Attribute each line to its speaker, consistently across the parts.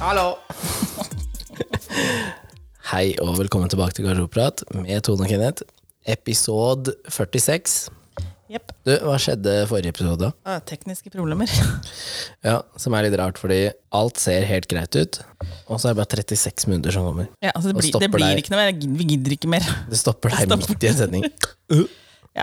Speaker 1: Hallo!
Speaker 2: Hei og velkommen tilbake til Garderobeprat med Tone og Kenneth. Episode 46.
Speaker 1: Jepp.
Speaker 2: Du, hva skjedde forrige episode?
Speaker 1: Ah, tekniske problemer.
Speaker 2: Ja, Som er litt rart, fordi alt ser helt greit ut, og så er det bare 36 minutter som kommer.
Speaker 1: Ja, altså det
Speaker 2: Og
Speaker 1: blir,
Speaker 2: stopper
Speaker 1: det blir
Speaker 2: deg.
Speaker 1: ikke noe mer. Jeg gid- Vi gidder ikke mer.
Speaker 2: Det stopper deg
Speaker 1: Stopper.
Speaker 2: midt i en sending.
Speaker 1: Ja.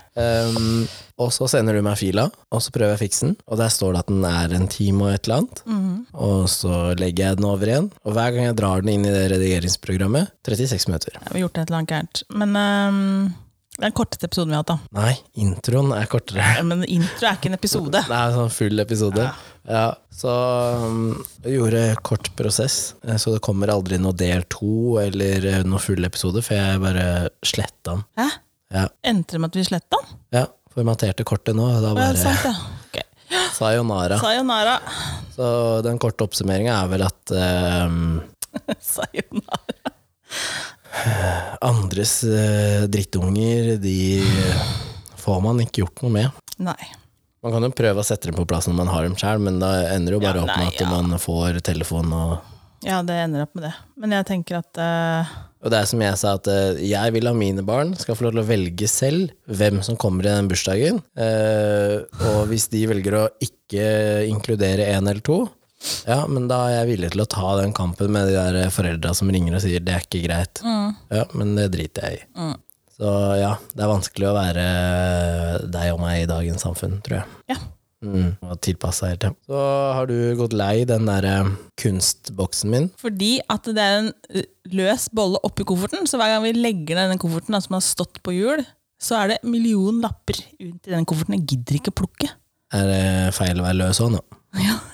Speaker 2: Um, og så sender du meg fila, og så prøver jeg å fikse den. Og der står det at den er en time og et eller annet.
Speaker 1: Mhm.
Speaker 2: Og så legger jeg den over igjen. Og hver gang jeg drar den inn i det redigeringsprogrammet, 36 minutter.
Speaker 1: Ja, vi har gjort et eller annet gærent. Men ehm, det er den korteste episoden vi har hatt, da.
Speaker 2: Nei, introen er kortere.
Speaker 1: Ja, Men intro er ikke en episode.
Speaker 2: Det er en sånn full episode. Ja, så um, jeg gjorde kort prosess, eh, så det kommer aldri noe del to eller eh, noe full episode, for jeg bare sletta den.
Speaker 1: Hæ?
Speaker 2: Ja,
Speaker 1: Endte det med at vi sletta den?
Speaker 2: ja formaterte kortet nå, og da
Speaker 1: Ja, sånn.
Speaker 2: bare
Speaker 1: sant, ja. Ok.
Speaker 2: sayonara.
Speaker 1: Sayonara.
Speaker 2: Så den korte oppsummeringa er vel at um,
Speaker 1: Sayonara.
Speaker 2: andres eh, drittunger, de får man ikke gjort noe med.
Speaker 1: Nei.
Speaker 2: Man kan jo prøve å sette dem på plass når man har dem sjøl, men da ender det jo bare
Speaker 1: Ja,
Speaker 2: opp
Speaker 1: nei,
Speaker 2: med at
Speaker 1: ja.
Speaker 2: man får telefon og
Speaker 1: Ja, det ender opp med det. Men jeg tenker at eh,
Speaker 2: Og det er som jeg sa, at eh, jeg vil ha mine barn skal få lov til å velge selv hvem som kommer i den bursdagen. Eh, og hvis de velger å ikke inkludere en eller to, ja, men da er jeg villig til å ta den kampen med de der foreldra som ringer og sier det er ikke greit. Ja, men det driter jeg i. Så ja, det er vanskelig å være deg og meg i dagens samfunn, tror jeg.
Speaker 1: Ja.
Speaker 2: Mm, og tilpasse helt, ja. Så har du gått lei den der eh, kunstboksen min.
Speaker 1: Fordi at det er en eh, løs bolle oppi kofferten, så hver gang vi legger ned den kofferten da, som har stått på hjul, så er det en million lapper rundt i den kofferten. Jeg gidder ikke plukke.
Speaker 2: er det feil å være løs òg nå.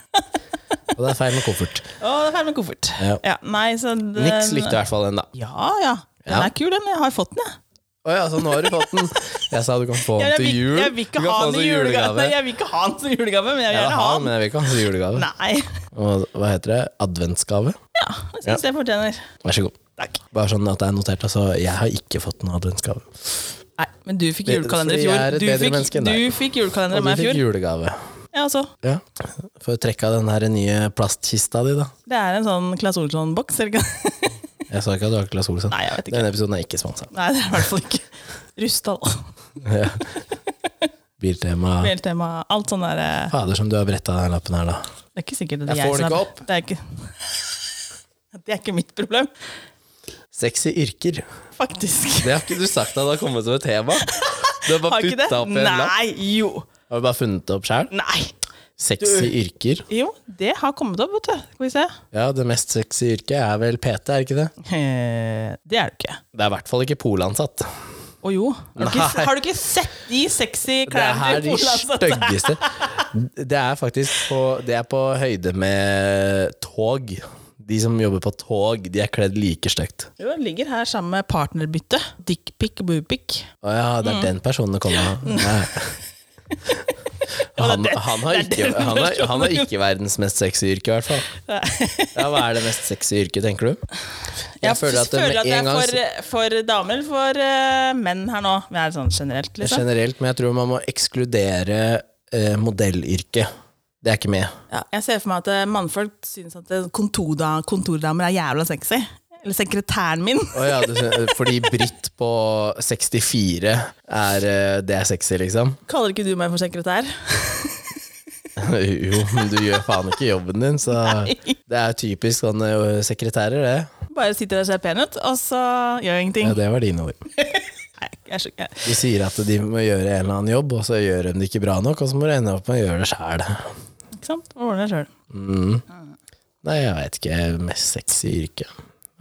Speaker 2: og det er feil med koffert.
Speaker 1: Å, det er ferdig med koffert.
Speaker 2: Ja.
Speaker 1: nei, så den,
Speaker 2: Niks likte i hvert fall den, da.
Speaker 1: Ja, ja. Den
Speaker 2: Ja.
Speaker 1: er kul, den. Jeg har fått den, jeg.
Speaker 2: Å ja, så nå har du fått den. Jeg sa du kan få
Speaker 1: eh, jeg,
Speaker 2: den til
Speaker 1: vil,
Speaker 2: jul.
Speaker 1: jeg vil
Speaker 2: Du
Speaker 1: ikke
Speaker 2: kan
Speaker 1: ha
Speaker 2: få
Speaker 1: den i
Speaker 2: som
Speaker 1: julegave. Nei, Jeg vil ikke ha den som julegave, men jeg vil
Speaker 2: Jeg vil
Speaker 1: gjerne
Speaker 2: ha
Speaker 1: ha
Speaker 2: den,
Speaker 1: den.
Speaker 2: men jeg vil ikke ha den som julegave.
Speaker 1: Nei.
Speaker 2: Og hva heter det? Adventsgave?
Speaker 1: Ja, jeg syns jeg fortjener.
Speaker 2: Vær så god.
Speaker 1: Takk.
Speaker 2: Bare sånn at det er notert. Altså, jeg har ikke fått noen adventsgave.
Speaker 1: Nei, men du fikk
Speaker 2: Det-
Speaker 1: julekalender i
Speaker 2: fordi jeg er
Speaker 1: fjor.
Speaker 2: et
Speaker 1: Du
Speaker 2: bedre
Speaker 1: fikk,
Speaker 2: menneske enn
Speaker 1: du
Speaker 2: deg.
Speaker 1: fikk julekalender
Speaker 2: Og
Speaker 1: av
Speaker 2: du
Speaker 1: meg i
Speaker 2: fikk
Speaker 1: fjor.
Speaker 2: julegave.
Speaker 1: Ja, altså.
Speaker 2: Ja. Får du trekke av den her nye plastkista di, da.
Speaker 1: Det er en sånn Claes Olsson-boks, er det ikke?
Speaker 2: Jeg sa ikke at du har Claes Olsson.
Speaker 1: Nei, jeg vet ikke.
Speaker 2: Denne episoden er ikke sponsa.
Speaker 1: Nei, det er i hvert fall ikke. Rustdal.
Speaker 2: Ja. Biltema.
Speaker 1: Feltema. Alt sånn der eh,
Speaker 2: Fader, som du har bretta den lappen her, da.
Speaker 1: Det er ikke sikkert det er
Speaker 2: Jeg får
Speaker 1: som
Speaker 2: den
Speaker 1: er-
Speaker 2: ikke opp.
Speaker 1: Det er ikke, det er ikke mitt problem,
Speaker 2: Sexy yrker.
Speaker 1: faktisk.
Speaker 2: Det har ikke du sagt at det har kommet som et tema. Du har bare
Speaker 1: Har ikke det?
Speaker 2: puttet opp i en lapp.
Speaker 1: Nei, jo.
Speaker 2: Har du bare funnet det opp sjøl?
Speaker 1: Nei.
Speaker 2: Sexy yrker.
Speaker 1: Jo, det har kommet opp, vet du. Skal vi se.
Speaker 2: Ja, det mest sexy yrket er vel PT, er det ikke det?
Speaker 1: Eh, Det er det ikke.
Speaker 2: Det er i hvert fall ikke polansatt.
Speaker 1: Å jo. Har du, ikke,
Speaker 2: Nei.
Speaker 1: har du ikke sett de sexy
Speaker 2: Det
Speaker 1: klærne
Speaker 2: er
Speaker 1: til
Speaker 2: de
Speaker 1: Polansatte?
Speaker 2: styggeste. Det er faktisk på, det er på høyde med tog. De som jobber på tog, de er kledd like stygt.
Speaker 1: Jo, den ligger her sammen med partnerbytte. Dickpic og boobpic.
Speaker 2: Å ja, det er den personen det kommer av. Mm. Ja. Han, han, har
Speaker 1: det er
Speaker 2: ikke,
Speaker 1: den
Speaker 2: han, har, han har
Speaker 1: personen.
Speaker 2: ikke verdens mest sexy yrke, i hvert fall. Ja, hva er det mest sexy yrket, tenker du?
Speaker 1: Jeg
Speaker 2: føler at det med
Speaker 1: er
Speaker 2: en gang
Speaker 1: for, for damer eller for eh, menn her nå. Vi er sånn generelt, liksom.
Speaker 2: Generelt, men jeg tror man må ekskludere eh, modellyrket. Det er ikke med.
Speaker 1: Ja, jeg ser for meg at eh, mannfolk syns at eh, kontorda, kontordamer er jævla sexy. Eller sekretæren min.
Speaker 2: Å ja, du, sy- fordi Britt på 64 er eh, Det er sexy, liksom?
Speaker 1: Kaller ikke du meg for sekretær?
Speaker 2: Jo, men du gjør faen ikke jobben din, så Det er typisk sånne eh, sekretærer, det.
Speaker 1: Bare sitter der og ser pen ut, og så gjør jeg
Speaker 2: Ja,
Speaker 1: ingenting.
Speaker 2: det var dine ord.
Speaker 1: Nei, jeg er så, jeg,
Speaker 2: De sier at de må gjøre en eller annen jobb, og så gjør de det ikke bra nok, og så må du ende opp med å gjøre det sjæl.
Speaker 1: ikke sant? Må ordne det sjøl.
Speaker 2: Nei, jeg veit ikke. Mest sexy yrke.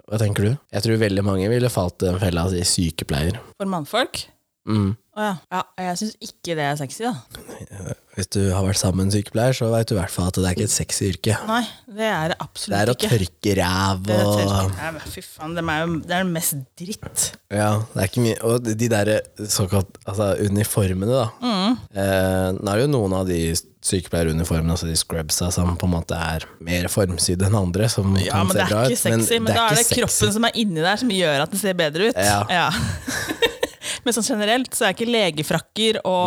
Speaker 2: Hva tenker du? Jeg tror veldig mange ville falt i den fella og si sykepleier.
Speaker 1: For mannfolk?
Speaker 2: Mm.
Speaker 1: Å ja. ja. Jeg syns ikke det er sexy, da.
Speaker 2: Hvis du har vært sammen med en sykepleier, så veit du i hvert fall at det er ikke et sexy yrke.
Speaker 1: Nei, det er det absolutt
Speaker 2: Det er å
Speaker 1: ikke.
Speaker 2: tørke ræv
Speaker 1: Det er
Speaker 2: og
Speaker 1: tørke. Nei, men Fy faen, det er, jo- det er mest dritt.
Speaker 2: Ja, det er ikke mye Og de der såkalt altså, uniformene, da.
Speaker 1: Mm.
Speaker 2: Eh, nå er det jo noen av de sykepleieruniformene, altså de scrubsa, som på en måte er mer formsydde enn andre, som
Speaker 1: Ja,
Speaker 2: kan se
Speaker 1: men det
Speaker 2: bra
Speaker 1: er
Speaker 2: ut.
Speaker 1: ikke sexy. Men, da er det
Speaker 2: ikke sexy.
Speaker 1: kroppen som er inni der som gjør at den ser bedre ut.
Speaker 2: Ja.
Speaker 1: men sånn generelt så er ikke legefrakker og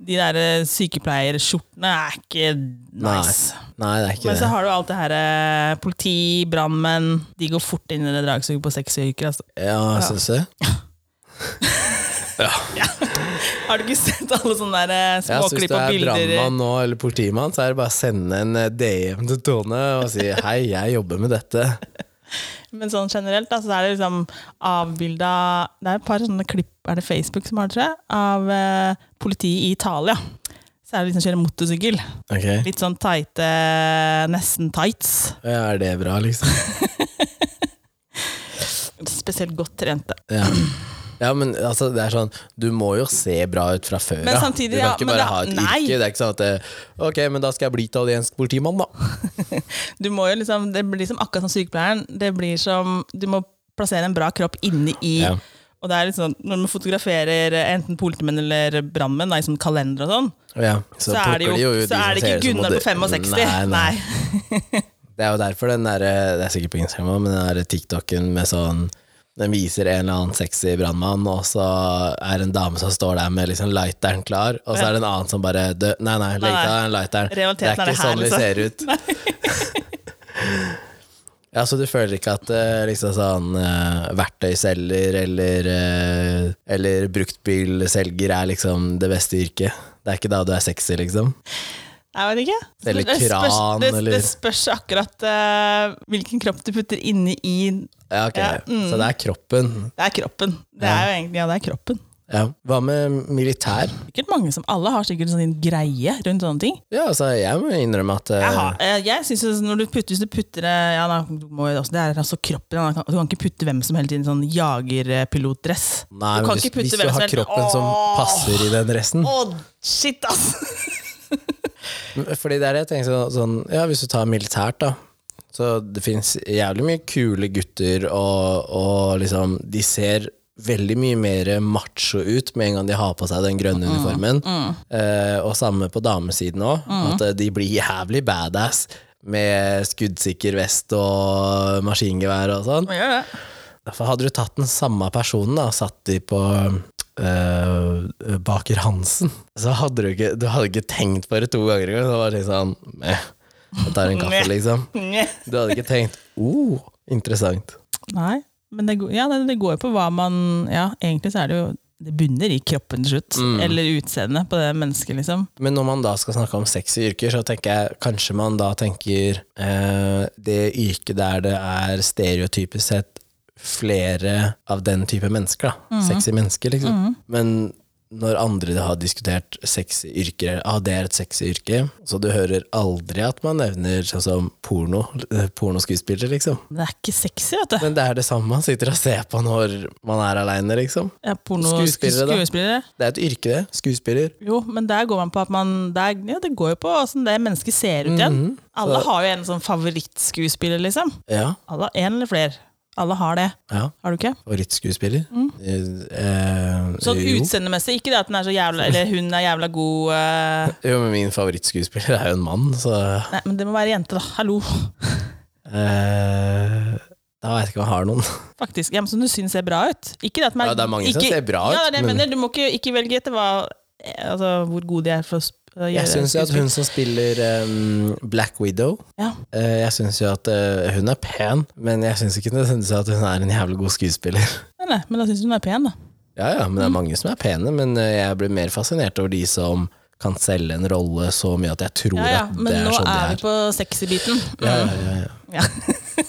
Speaker 1: De der eh, sykepleierskjortene er ikke nice.
Speaker 2: Nei, det er ikke
Speaker 1: Men så
Speaker 2: det.
Speaker 1: har du alt det her eh, politi, brannmenn De går fort inn i det dragsuget på seks uker. Altså.
Speaker 2: Ja, syns du?
Speaker 1: Har du ikke sett alle sånne der, eh, som
Speaker 2: Ja, så
Speaker 1: åker
Speaker 2: hvis
Speaker 1: de
Speaker 2: du
Speaker 1: på
Speaker 2: er
Speaker 1: bilder?
Speaker 2: brannmann nå, eller politimann, så er det bare å sende en eh, DM til Tone og si 'hei, jeg jobber med dette'.
Speaker 1: Men sånn generelt, da, så er det liksom avbilda Det er et par sånne klipp er det Facebook som har det, tror jeg, av eh, politiet i Italia. Så er det liksom kjøre motorsykkel.
Speaker 2: Ok,
Speaker 1: Litt sånn tighte, nesten tights.
Speaker 2: ja, Er det bra, liksom?
Speaker 1: Spesielt godt trente.
Speaker 2: Ja. ja, men altså, det er sånn Du må jo se bra ut fra før
Speaker 1: Men
Speaker 2: av.
Speaker 1: samtidig,
Speaker 2: Du kan
Speaker 1: ja,
Speaker 2: ikke
Speaker 1: men
Speaker 2: bare
Speaker 1: da-
Speaker 2: ha et
Speaker 1: nei.
Speaker 2: yrke. Det er ikke sånn at eh, Ok, men da skal jeg bli italiensk politimann, da.
Speaker 1: Du må jo liksom, det blir som akkurat som sykepleieren. Det blir som, Du må plassere en bra kropp inni i
Speaker 2: Ja.
Speaker 1: Og det er litt sånn, Når man fotograferer eh, enten politimenn eller brannmenn da, i sånn kalender, og sånn,
Speaker 2: Ja,
Speaker 1: så, er det jo,
Speaker 2: plukker de ut de
Speaker 1: så
Speaker 2: som
Speaker 1: er
Speaker 2: ser ut
Speaker 1: det ikke
Speaker 2: som
Speaker 1: Gunnar på
Speaker 2: moder-
Speaker 1: 65.
Speaker 2: Nei, nei.
Speaker 1: nei.
Speaker 2: Det er jo derfor den der eh, Det er sikkert på Instagram også, men den der TikToken med sånn den viser en eller annen sexy brannmann, og så er det en dame som står der med liksom lighteren klar, og så er det en annen som bare dø, Nei, nei, legg
Speaker 1: Nei,
Speaker 2: fra
Speaker 1: nei.
Speaker 2: deg den lighteren. Det
Speaker 1: Realiteten
Speaker 2: er
Speaker 1: er
Speaker 2: ikke
Speaker 1: det her,
Speaker 2: sånn vi
Speaker 1: liksom.
Speaker 2: ser ut. Ja, Så du føler ikke at eh, liksom sånn eh, verktøyselger eller, eh, eller bruktbilselger er liksom det beste yrket? Det er ikke da du er sexy, liksom?
Speaker 1: Jeg vet ikke.
Speaker 2: Eller
Speaker 1: Det spørs-
Speaker 2: kran,
Speaker 1: det,
Speaker 2: eller-
Speaker 1: Det spørs akkurat eh, hvilken kropp du putter inni i
Speaker 2: Ja, ok.
Speaker 1: Ja, mm.
Speaker 2: Så det er kroppen.
Speaker 1: Det er kroppen. Det
Speaker 2: Ja.
Speaker 1: er jo egentlig, ja, det er kroppen.
Speaker 2: Ja. Hva med militær?
Speaker 1: Sikkert mange som Alle har sikkert en sånn greie rundt sånne ting.
Speaker 2: Ja, altså, jeg må innrømme at eh,
Speaker 1: Jeg, har, eh, jeg synes jo når du putter, Hvis du putter eh, ja, da, du må, jo også, Det er altså kroppen. da, Du kan ikke putte hvem som helst i en sånn jagerpilotdress.
Speaker 2: Nei,
Speaker 1: du
Speaker 2: men
Speaker 1: kan
Speaker 2: hvis,
Speaker 1: ikke putte
Speaker 2: hvis du
Speaker 1: hvem som
Speaker 2: har
Speaker 1: helst-
Speaker 2: kroppen som
Speaker 1: Åh!
Speaker 2: passer i den dressen
Speaker 1: Å, shit, ass!
Speaker 2: Fordi det er det jeg tenker sånn, sånn Ja, hvis du tar militært, da. Så det fins jævlig mye kule gutter, og, og liksom De ser veldig mye mer macho ut med en gang de har på seg den grønne uniformen. Eh, og samme på damesiden òg. At eh, de blir jævlig badass med skuddsikker vest og maskingevær og sånn.
Speaker 1: Man gjør det.
Speaker 2: For hadde du tatt den samme personen da, og satt de på øh, Baker Hansen, så hadde du ikke, du hadde ikke tenkt på det to ganger engang. Så var det sånn eh, Jeg tar en kaffe, liksom. Du hadde ikke tenkt oh, interessant.
Speaker 1: Nei, men det, går- ja, det, det går jo på hva man Ja, egentlig så er det jo Det bunner i kroppen til slutt. Eller utseendet på det mennesket, liksom.
Speaker 2: Men når man da skal snakke om sexy yrker, så tenker jeg kanskje man da tenker eh, det yrket der det er stereotypisk sett flere av den type mennesker, da. Sexy mennesker, liksom. Men når andre har diskutert sexy yrker, eller, ah, det er et sexy yrke, så du hører aldri at man nevner sånn som porno, eh, pornoskuespiller, liksom.
Speaker 1: Men det er ikke sexy, vet du.
Speaker 2: Men det er det samme man sitter og ser på når man er aleine, liksom.
Speaker 1: Ja, porno,
Speaker 2: Skuespillere, da.
Speaker 1: skuespillere.
Speaker 2: Det er et yrke, det. Skuespiller.
Speaker 1: Jo, men der går man på at man der, ja, Det går jo på åssen det mennesket ser ut igjen.
Speaker 2: Mhm.
Speaker 1: Alle har jo en sånn favorittskuespiller, liksom.
Speaker 2: Ja.
Speaker 1: Alle har en eller flere. Alle har det.
Speaker 2: ja.
Speaker 1: Har du ikke?
Speaker 2: Favorittskuespiller? Eh,
Speaker 1: Mm. Sånn
Speaker 2: jo.
Speaker 1: utseendemessig, ikke det at den er så jævla Eller hun er jævla god eh,
Speaker 2: Jo, men min favorittskuespiller er jo en mann, så
Speaker 1: Nei, men det må være jente, da. Hallo.
Speaker 2: eh, Da veit jeg ikke om jeg har noen.
Speaker 1: Faktisk. Ja, men Som du syns ser bra ut. Ikke det at den
Speaker 2: Ja, det er mange som
Speaker 1: ikke-
Speaker 2: ser bra ut,
Speaker 1: Ja, det er det jeg
Speaker 2: men-
Speaker 1: mener. Du må ikke, ikke velge etter hva eh, Altså, hvor gode de er for å sp- å gjøre
Speaker 2: Jeg syns jo at hun som spiller eh, Black Widow
Speaker 1: Ja.
Speaker 2: eh, Jeg syns jo at eh, hun er pen, men jeg syns ikke nødvendigvis at hun er en jævlig god skuespiller.
Speaker 1: Nei, nei, men da syns du hun er pen, da.
Speaker 2: Ja, ja,
Speaker 1: Mm.
Speaker 2: men det er mange som er pene, men eh, jeg blir mer fascinert over de som kan selge en rolle så mye at jeg tror
Speaker 1: Ja, ja.
Speaker 2: at det
Speaker 1: Men
Speaker 2: er
Speaker 1: nå
Speaker 2: sånn de
Speaker 1: er
Speaker 2: er.
Speaker 1: vi på sexy-biten.
Speaker 2: Ja, ja, ja, ja.
Speaker 1: Ja.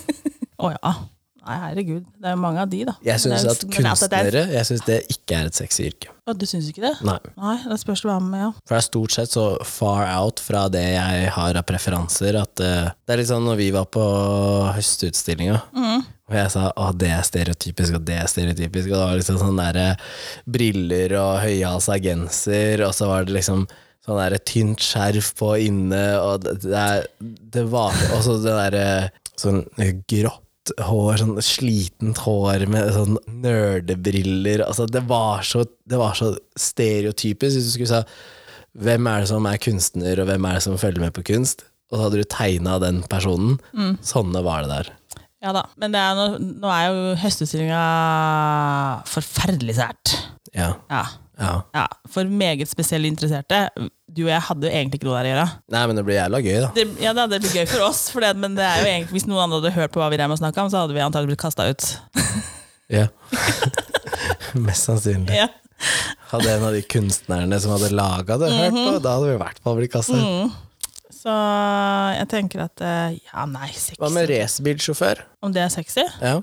Speaker 1: Å ja. Nei, herregud. Det er jo mange av de, da.
Speaker 2: Jeg syns
Speaker 1: Det er
Speaker 2: at
Speaker 1: jo- men altså, det er-
Speaker 2: kunstnere Jeg synes det ikke er et sexy yrke.
Speaker 1: Å, Du syns ikke det?
Speaker 2: Nei.
Speaker 1: Nei, da spørs det hva med, ja.
Speaker 2: For det er stort sett så far out fra det jeg har av preferanser, at eh, det er litt sånn når vi var på høstutstillinga, og jeg sa å, det er stereotypisk, og det er stereotypisk, og det var liksom sånn derre briller og høyhalsa genser, og så var det liksom sånn derre tynt skjerf på inne, og det, det, er, det var Og så det derre sånn grått. Hår, sånn slitent hår med sånn nerdebriller altså, det, var så, det var så stereotypisk. Hvis du skulle sa hvem er det som er kunstner, og hvem er det som følger med på kunst? Og så hadde du tegna den personen.
Speaker 1: Mm.
Speaker 2: Sånne var det der.
Speaker 1: Ja da. Men det er no, nå er jo høstutstillinga forferdelig sært.
Speaker 2: Ja.
Speaker 1: Ja.
Speaker 2: Ja.
Speaker 1: Ja, For meget spesielle interesserte. Du og jeg hadde jo egentlig ikke noe der å gjøre.
Speaker 2: Nei, men det blir jævla gøy, da.
Speaker 1: Det, ja, det hadde blitt gøy for oss, for det, men det er jo egentlig, hvis noen andre hadde hørt på hva vi drev med å snakke om, så hadde vi antagelig blitt kasta ut.
Speaker 2: Ja. Mest sannsynlig.
Speaker 1: Ja.
Speaker 2: Hadde en av de kunstnerne som hadde laga det, hørt på,
Speaker 1: Mhm.
Speaker 2: da hadde vi i hvert fall blitt kasta ut.
Speaker 1: Så jeg tenker at eh, ja, nei,
Speaker 2: Hva
Speaker 1: sexy.
Speaker 2: med racerbilsjåfør?
Speaker 1: Om det er sexy?
Speaker 2: Ja.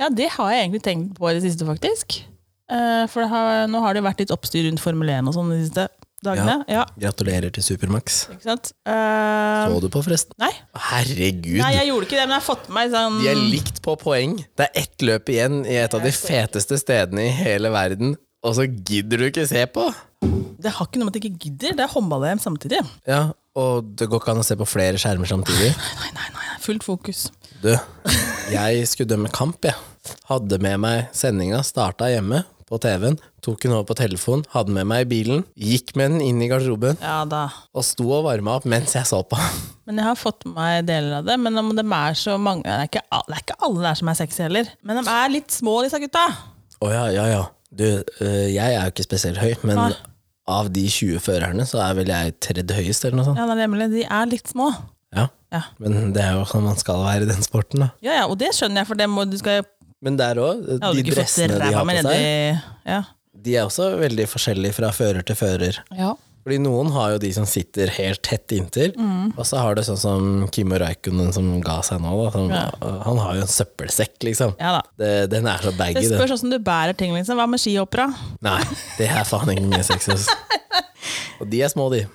Speaker 1: Ja, det har jeg egentlig tenkt på i det siste, faktisk. Eh, for det har, nå har det vært litt oppstyr rundt Formel 1 og sånn de siste dagene. Ja.
Speaker 2: Gratulerer til Supermax.
Speaker 1: ikke sant? Eh,
Speaker 2: Så du på, forresten?
Speaker 1: nei.
Speaker 2: Herregud!
Speaker 1: nei, jeg gjorde ikke det, men jeg har fått med meg sånn
Speaker 2: De er likt på poeng. Det er ett løp igjen i et av de feteste stedene i hele verden, og så gidder du ikke se på!
Speaker 1: Det har ikke noe med at jeg ikke gidder, det er håndball-EM samtidig.
Speaker 2: Ja, og det går ikke an å se på flere skjermer samtidig.
Speaker 1: Nei, nei, nei, fullt fokus.
Speaker 2: Du, jeg skulle dømme kamp, jeg. Hadde med meg sendinga, starta hjemme på TV-en, tok den over på telefonen, hadde med meg i bilen, gikk med den inn i garderoben
Speaker 1: Ja da.
Speaker 2: og sto og varma opp mens jeg så på.
Speaker 1: Men jeg har fått med meg deler av det. Men om de er så mange Det er ikke, al- det er ikke alle der som er sexy heller. Men de er litt små, disse gutta.
Speaker 2: Å ja, ja, ja. Du, øh, jeg er jo ikke spesielt høy, men
Speaker 1: Nei.
Speaker 2: av de 20 førerne så er vel jeg tredje høyest, eller noe sånt.
Speaker 1: Ja, det er nemlig, De er litt små.
Speaker 2: Ja.
Speaker 1: Ja.
Speaker 2: Men det er jo sånn man skal være i den sporten, da.
Speaker 1: ja, ja, og det skjønner jeg, for det må, du skal jo
Speaker 2: Men der òg,
Speaker 1: Jeg hadde
Speaker 2: de
Speaker 1: ikke fått
Speaker 2: dressene de
Speaker 1: ræva
Speaker 2: har
Speaker 1: mi
Speaker 2: på
Speaker 1: nedi
Speaker 2: seg,
Speaker 1: ja.
Speaker 2: de er også veldig forskjellige fra fører til fører.
Speaker 1: ja.
Speaker 2: Fordi noen har jo de som sitter helt tett inntil,
Speaker 1: Mm.
Speaker 2: og så har du sånn som Kimmo Raikkonen som ga seg nå, da. Som, Han har jo en søppelsekk, liksom.
Speaker 1: Ja da.
Speaker 2: Det, den er så
Speaker 1: Det
Speaker 2: baggy, den.
Speaker 1: spørs åssen du bærer ting. liksom Hva med skihoppere?
Speaker 2: Nei, det er faen ikke mye sex hos. Og de er små, de.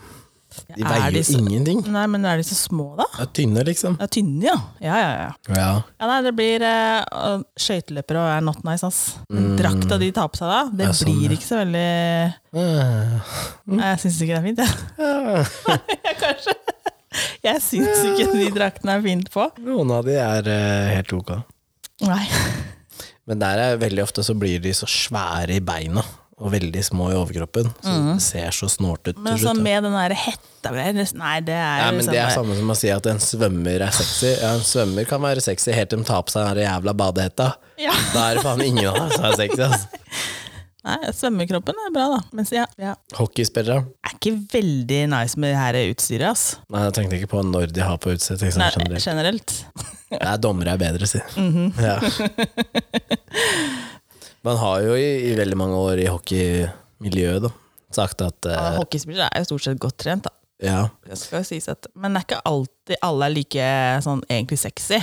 Speaker 2: De
Speaker 1: Er
Speaker 2: veier
Speaker 1: de så-
Speaker 2: jo ingenting.
Speaker 1: Nei, men er de så små, da?
Speaker 2: De er tynne, liksom.
Speaker 1: Ja, Tynne, ja. Ja, ja, ja.
Speaker 2: Ja.
Speaker 1: ja nei, det blir eh, og Skøyteløpere er not nice, ass. Den Drakta de tar på seg da,
Speaker 2: Mm.
Speaker 1: det
Speaker 2: Ja, sånn,
Speaker 1: blir ikke så veldig
Speaker 2: Ah.
Speaker 1: Nei, Jeg syns ikke det er fint, jeg.
Speaker 2: Ah.
Speaker 1: Ja, kanskje. Jeg syns ikke de draktene er fint på.
Speaker 2: Noen av de er eh, helt ok.
Speaker 1: Nei.
Speaker 2: Men der er veldig ofte så blir de så svære i beina og veldig små i overkroppen. Så det ser så snålt ut
Speaker 1: Mm. Men
Speaker 2: til
Speaker 1: sånn
Speaker 2: slutt. da.
Speaker 1: med den der hetta greier det- Nei, det er
Speaker 2: Ja,
Speaker 1: jo
Speaker 2: men
Speaker 1: liksom
Speaker 2: det er sånn.
Speaker 1: bare-
Speaker 2: samme som å si at en svømmer er sexy. Ja, en svømmer kan være sexy helt til de tar på seg den der jævla badehetta.
Speaker 1: Ja.
Speaker 2: Da er det faen ingen av dem som er sexy. Altså.
Speaker 1: Nei, svømmekroppen er bra, da. Mens ja, ja.
Speaker 2: Hockeyspillere
Speaker 1: er ikke veldig nice med det her utstyret, ass.
Speaker 2: Nei, jeg tenkte ikke på når de har på utsett. Liksom,
Speaker 1: Nei,
Speaker 2: generelt.
Speaker 1: Mhm. generelt.
Speaker 2: Nei, dommere er bedre, si. ja. Man har jo i, i veldig mange år i hockeymiljøet da, sagt at eh,
Speaker 1: Hockeyspillere er jo stort sett godt trent, da.
Speaker 2: ja,
Speaker 1: Det skal jo sies at, men det er ikke alltid alle er like sånn egentlig sexy.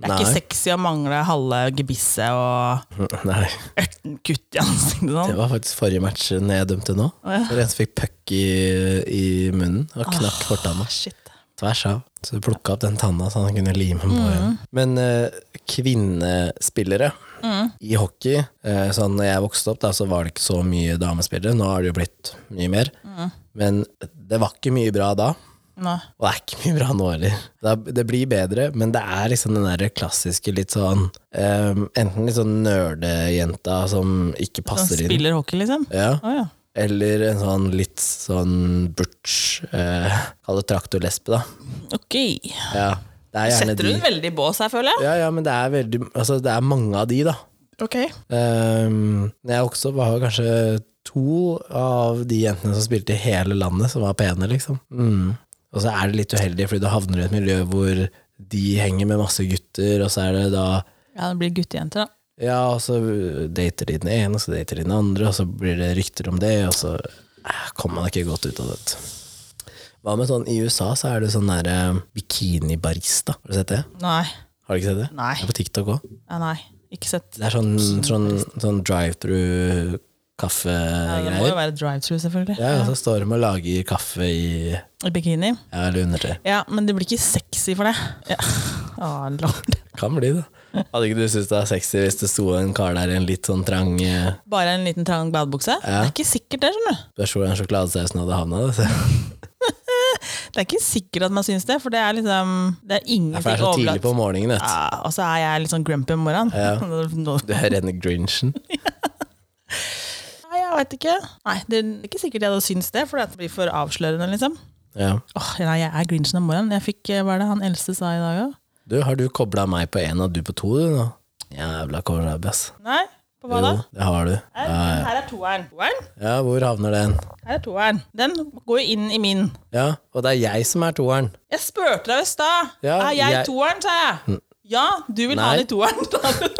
Speaker 1: Det er
Speaker 2: Nei.
Speaker 1: ikke sexy å mangle halve gebisset og
Speaker 2: Nei,
Speaker 1: ørten kutt i ansiktet.
Speaker 2: det
Speaker 1: Sånn.
Speaker 2: var faktisk forrige match når jeg dømte nå.
Speaker 1: Å, ja.
Speaker 2: Hvor en som fikk puck i, i munnen og knakk fortanna.
Speaker 1: Shit.
Speaker 2: Tvers av. Så du plukka opp den tanna så han kunne lime den på
Speaker 1: Mm.
Speaker 2: igjen. Men eh, kvinnespillere
Speaker 1: Mm.
Speaker 2: i hockey eh, Sånn når jeg vokste opp, da, så var det ikke så mye damespillere. Nå har det jo blitt mye mer.
Speaker 1: Mm.
Speaker 2: Men det var ikke mye bra da.
Speaker 1: Nå.
Speaker 2: Og det er ikke mye bra nå heller. Det, er- det blir bedre, men det er liksom den der klassiske litt sånn eh, Enten litt sånn nerdejenta som ikke
Speaker 1: Som
Speaker 2: passer inn.
Speaker 1: spiller hockey, liksom.
Speaker 2: Ja.
Speaker 1: Å ja.
Speaker 2: Eller en sånn litt sånn butch eh, Kall det traktorlesbe, da.
Speaker 1: Ok.
Speaker 2: Ja, det er gjerne
Speaker 1: Setter
Speaker 2: de.
Speaker 1: hun veldig i bås her, føler jeg.
Speaker 2: Ja, ja, men det er, veldig, altså, det er mange av de, da.
Speaker 1: Ok.
Speaker 2: Um, når jeg vokste opp, var det kanskje to av de jentene som spilte i hele landet, som var pene, liksom. Mm. Og så er det litt uheldig, fordi du havner i et miljø hvor de henger med masse gutter, og så er det da
Speaker 1: Ja, det blir guttejenter, da.
Speaker 2: Ja, og så dater de den ene, og så dater de den andre, og så blir det rykter om det, og så eh, kommer man ikke godt ut av det. Hva med sånn i USA, så er det sånn derre bikinibarista. Har du sett det?
Speaker 1: Nei.
Speaker 2: Har du ikke sett det?
Speaker 1: Nei.
Speaker 2: Det er på TikTok òg.
Speaker 1: Ja, nei. Ikke sett.
Speaker 2: Det er sånn, sånn, sånn
Speaker 1: Ja, det må jo
Speaker 2: drive-through-kaffegreier.
Speaker 1: være drive-through, selvfølgelig.
Speaker 2: Ja, og så står de og lager kaffe i ja,
Speaker 1: I bikini.
Speaker 2: eller undertøy.
Speaker 1: Ja, men det blir ikke sexy for det. Ja. Å, lord.
Speaker 2: Kan bli det. Hadde ikke du syntes det var sexy hvis det sto en kar der i en litt sånn trang eh,
Speaker 1: Bare en liten trang badebukse? Det er ikke sikkert det, skjønner du.
Speaker 2: Spørs hvor den sjokoladesausen hadde havna. Det
Speaker 1: Det er ikke sikkert at man syns det, for det er liksom Det er
Speaker 2: Ja,
Speaker 1: ingenting
Speaker 2: for det er så tidlig
Speaker 1: overlatt.
Speaker 2: på morgenen, vet du.
Speaker 1: Ja, og så er jeg litt sånn grumpy om morgenen.
Speaker 2: Ja.
Speaker 1: Nå-
Speaker 2: Du er rene grinchen.
Speaker 1: Nei, jeg veit ikke. Nei, det er ikke sikkert jeg hadde syntes det, for det blir for avslørende, liksom.
Speaker 2: Ja.
Speaker 1: Åh, nei, jeg er grinchen om morgenen. Jeg fikk, eh, Hva er det han eldste sa i dag òg?
Speaker 2: Du, har du kobla meg på én og du på to, du nå? Jævla kålrabi, ass.
Speaker 1: Nei? På hva da?
Speaker 2: Jo, det har du.
Speaker 1: Her,
Speaker 2: Ja, ja.
Speaker 1: her er toeren. Toeren?
Speaker 2: ja, hvor havner den?
Speaker 1: Her er toeren. Den går jo inn i min.
Speaker 2: Ja, og det er jeg som er toeren.
Speaker 1: Jeg spurte deg i stad.
Speaker 2: Ja,
Speaker 1: er jeg,
Speaker 2: jeg- Mm.
Speaker 1: toeren, sa jeg. Ja, du vil ha
Speaker 2: Nei.
Speaker 1: den i toeren.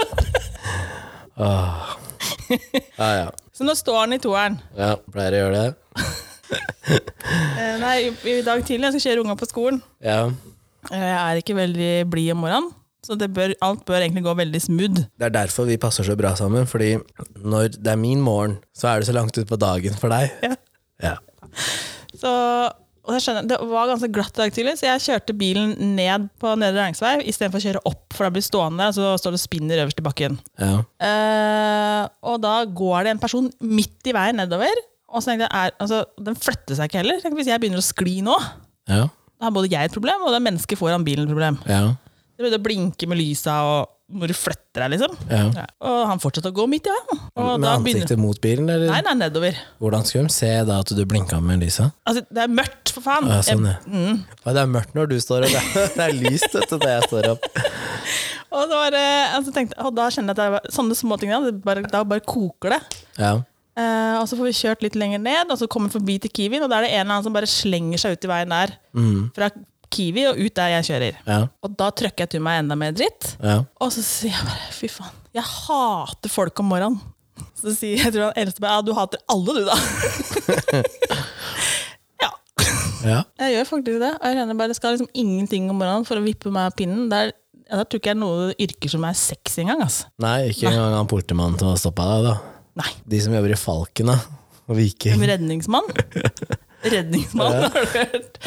Speaker 2: Ja, ja.
Speaker 1: Så nå står den i toeren.
Speaker 2: ja pleier å gjøre det.
Speaker 1: Eh, Nei, i i dag tidlig jeg skal kjøre unga på skolen.
Speaker 2: Ja.
Speaker 1: Eh, Jeg er ikke veldig blid om morgenen, så det bør, alt bør egentlig gå veldig smooth.
Speaker 2: Det er derfor vi passer så bra sammen, fordi når det er min morgen, så er det så langt ut på dagen for deg.
Speaker 1: Ja.
Speaker 2: Ja.
Speaker 1: Så, og jeg skjønner, det var ganske glatt i dag tidlig, så jeg kjørte bilen ned på Nedre Rangsvei istedenfor å kjøre opp, for da blir det stående, og så står det og spinner øverst i bakken.
Speaker 2: Ja.
Speaker 1: Eh, og da går det en person midt i veien nedover, og så tenkte jeg, er, altså, den flytter seg ikke heller. Tenk hvis jeg begynner å skli nå,
Speaker 2: Ja.
Speaker 1: da har både jeg et problem, og det mennesket foran bilen et problem.
Speaker 2: Ja.
Speaker 1: Det begynte å blinke med lysa, og må du flytte deg, liksom.
Speaker 2: ja.
Speaker 1: Ja. Og han fortsatte å gå midt i veien. Og
Speaker 2: Med
Speaker 1: da begynner
Speaker 2: ansiktet mot bilen, eller?
Speaker 1: Nei, nei, nedover.
Speaker 2: Hvordan skulle de se da at du blinka med lysa?
Speaker 1: Altså, det er mørkt, for faen. Mm.
Speaker 2: Ja, sånn,
Speaker 1: Jeg-
Speaker 2: ja. Ja, det er mørkt når du står opp. ja. Det er lyst etter det jeg står opp.
Speaker 1: Og, det var, eh, altså, tenkte, og da kjenner jeg at det var sånne småting da, det bare, da bare koker det.
Speaker 2: Ja.
Speaker 1: Eh, og så får vi kjørt litt lenger ned, og så kommer vi forbi til Kiwien, og da er det en eller annen som bare slenger seg ut i veien der. Fra Kiwi og ut der jeg kjører.
Speaker 2: Mm. Ja.
Speaker 1: Og da trøkker jeg til meg enda mer dritt.
Speaker 2: Ja.
Speaker 1: Og så sier jeg bare fy faen, jeg hater folk om morgenen. Så sier jeg tror han eldste meg ja, du hater alle du, da. ja.
Speaker 2: ja.
Speaker 1: Jeg gjør faktisk det. Og jeg kjenner bare det skal liksom ingenting om morgenen for å vippe meg av pinnen. Det er, ja, da tror ikke jeg det er noe yrker som er sexy engang. Altså.
Speaker 2: Nei, ikke engang han politimannen som har stoppa deg, da.
Speaker 1: Nei.
Speaker 2: De som jobber i Falken, da. Og Viking.
Speaker 1: En redningsmann. Redningsmann, har du hørt.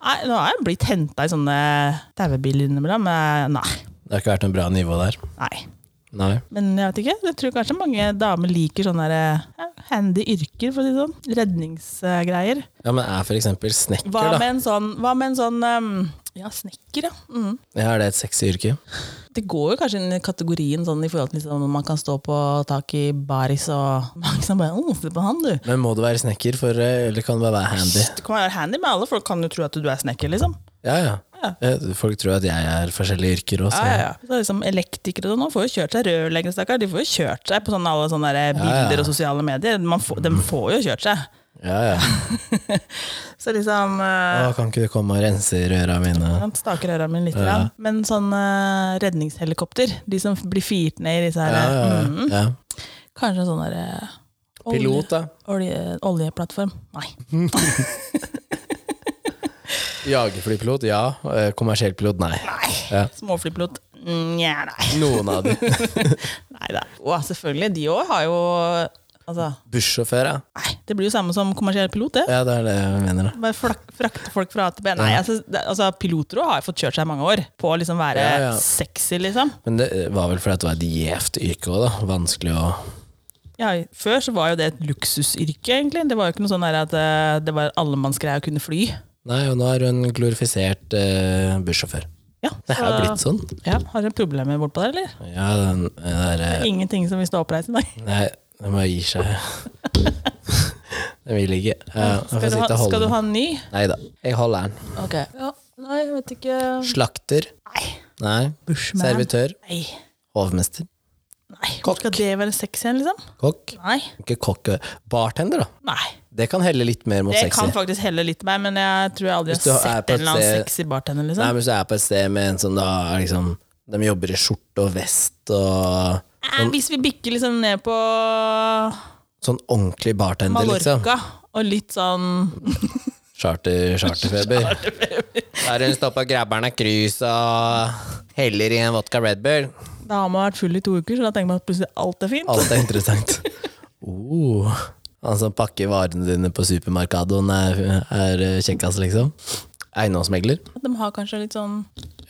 Speaker 1: Nei, nå har jeg blitt henta i sånne dauebiler innimellom, men nei.
Speaker 2: Det har ikke vært noe bra nivå der.
Speaker 1: nei.
Speaker 2: Nei.
Speaker 1: Men jeg vet ikke. Jeg tror kanskje mange damer liker sånne der, ja, handy yrker, for å si det sånn. Redningsgreier.
Speaker 2: Ja, men er for eksempel snekker,
Speaker 1: Hva
Speaker 2: da.
Speaker 1: med en sånn, hva med en sånn ehm, Ja, snekker, ja. Mm.
Speaker 2: Ja, er det et sexy yrke?
Speaker 1: Det går jo kanskje inn i kategorien sånn i forhold til liksom, når man kan stå på tak i baris og Mange som bare «Å, se på han, du.
Speaker 2: Men må du være snekker, for, eh, eller kan du bare være handy?
Speaker 1: Du kan være handy med alle, folk kan jo tro at du er snekker, liksom.
Speaker 2: Ja, ja. Eh, Folk tror at jeg er forskjellige yrker òg, så
Speaker 1: Ja, ja, ja. Så liksom Elektrikere og sånn nå får jo kjørt seg, rørleggere stakkar. De får jo kjørt seg på sånne, alle sånne der bilder og sosiale medier. Man får, de får jo kjørt seg.
Speaker 2: ja, ja.
Speaker 1: Så liksom eh,
Speaker 2: Å, kan ikke du komme og rense i røra mine?
Speaker 1: Han staker øra mine litt. grann. Men sånn eh, redningshelikopter, de som blir firt ned i disse her
Speaker 2: Ja, ja, ja.
Speaker 1: mm,
Speaker 2: ja.
Speaker 1: Kanskje en sånn derre uh,
Speaker 2: Pilot, da.
Speaker 1: Olje, oljeplattform. Nei.
Speaker 2: Jagerflypilot, ja. Eh, Kommersiell pilot, nei. Ja.
Speaker 1: Småflypilot? Nja, nei.
Speaker 2: Noen av de.
Speaker 1: nei da. Og selvfølgelig, de òg har jo Altså,
Speaker 2: Bussjåfør, ja.
Speaker 1: nei. Det blir jo samme som kommersiell pilot, det.
Speaker 2: Ja, det er det jeg mener, da.
Speaker 1: Bare flak, frakte folk fra A til B. Nei, altså, det, altså piloter òg har fått kjørt seg i mange år på å liksom være
Speaker 2: Ja, ja.
Speaker 1: sexy, liksom.
Speaker 2: Men det eh, var vel fordi at det var et gjevt yrke òg, da. Vanskelig å
Speaker 1: Ja, før så var jo det et luksusyrke, egentlig. Det var jo ikke noe sånn der at eh, det var allemannsgreie å kunne fly.
Speaker 2: Nei, og nå er hun en glorifisert eh, bussjåfør.
Speaker 1: Ja,
Speaker 2: Det har
Speaker 1: så-
Speaker 2: blitt sånn.
Speaker 1: Ja, har dere problemer bortpå der, eller?
Speaker 2: Ja, den der eh,
Speaker 1: Ingenting som vil stå oppreist i dag?
Speaker 2: Nei, den bare gir seg. den vil ikke. Ja, jeg får
Speaker 1: Skal du, ha,
Speaker 2: sitte og
Speaker 1: skal
Speaker 2: holde
Speaker 1: du
Speaker 2: den.
Speaker 1: ha en ny?
Speaker 2: Nei da. Jeg holder den.
Speaker 1: Ok. Ja, nei, jeg vet ikke
Speaker 2: Slakter.
Speaker 1: Nei.
Speaker 2: Nei.
Speaker 1: Bushman.
Speaker 2: Servitør.
Speaker 1: Nei.
Speaker 2: Hovmester.
Speaker 1: Nei. Skal det være sexy igjen, liksom?
Speaker 2: Kokk.
Speaker 1: Nei.
Speaker 2: Ikke kokk. eh, Bartender, da.
Speaker 1: Nei.
Speaker 2: Det kan helle litt mer mot
Speaker 1: Det
Speaker 2: sexy.
Speaker 1: kan faktisk helle litt meg, men jeg tror jeg aldri
Speaker 2: Hvis du
Speaker 1: har
Speaker 2: er
Speaker 1: sett
Speaker 2: på
Speaker 1: en eller annen
Speaker 2: et sted-
Speaker 1: sexy bartender,
Speaker 2: Nei,
Speaker 1: liksom.
Speaker 2: men hvis du er på et sted med en som da er liksom De jobber i skjorte og vest og
Speaker 1: Eh, Hvis vi bikker liksom ned på
Speaker 2: sånn ordentlig bartender, liksom.
Speaker 1: Mallorca, og litt sånn
Speaker 2: Charter, charterfeber. Der hun står på grabberen av krus og heller i en vodka Red Bull.
Speaker 1: Da har man vært full i to uker, så da tenker man at plutselig alt er fint.
Speaker 2: Alt er interessant. Oh. Han som pakker varene dine på supermarkadoen, er, er kjekkas, liksom. Eiendomsmegler.
Speaker 1: De har kanskje litt sånn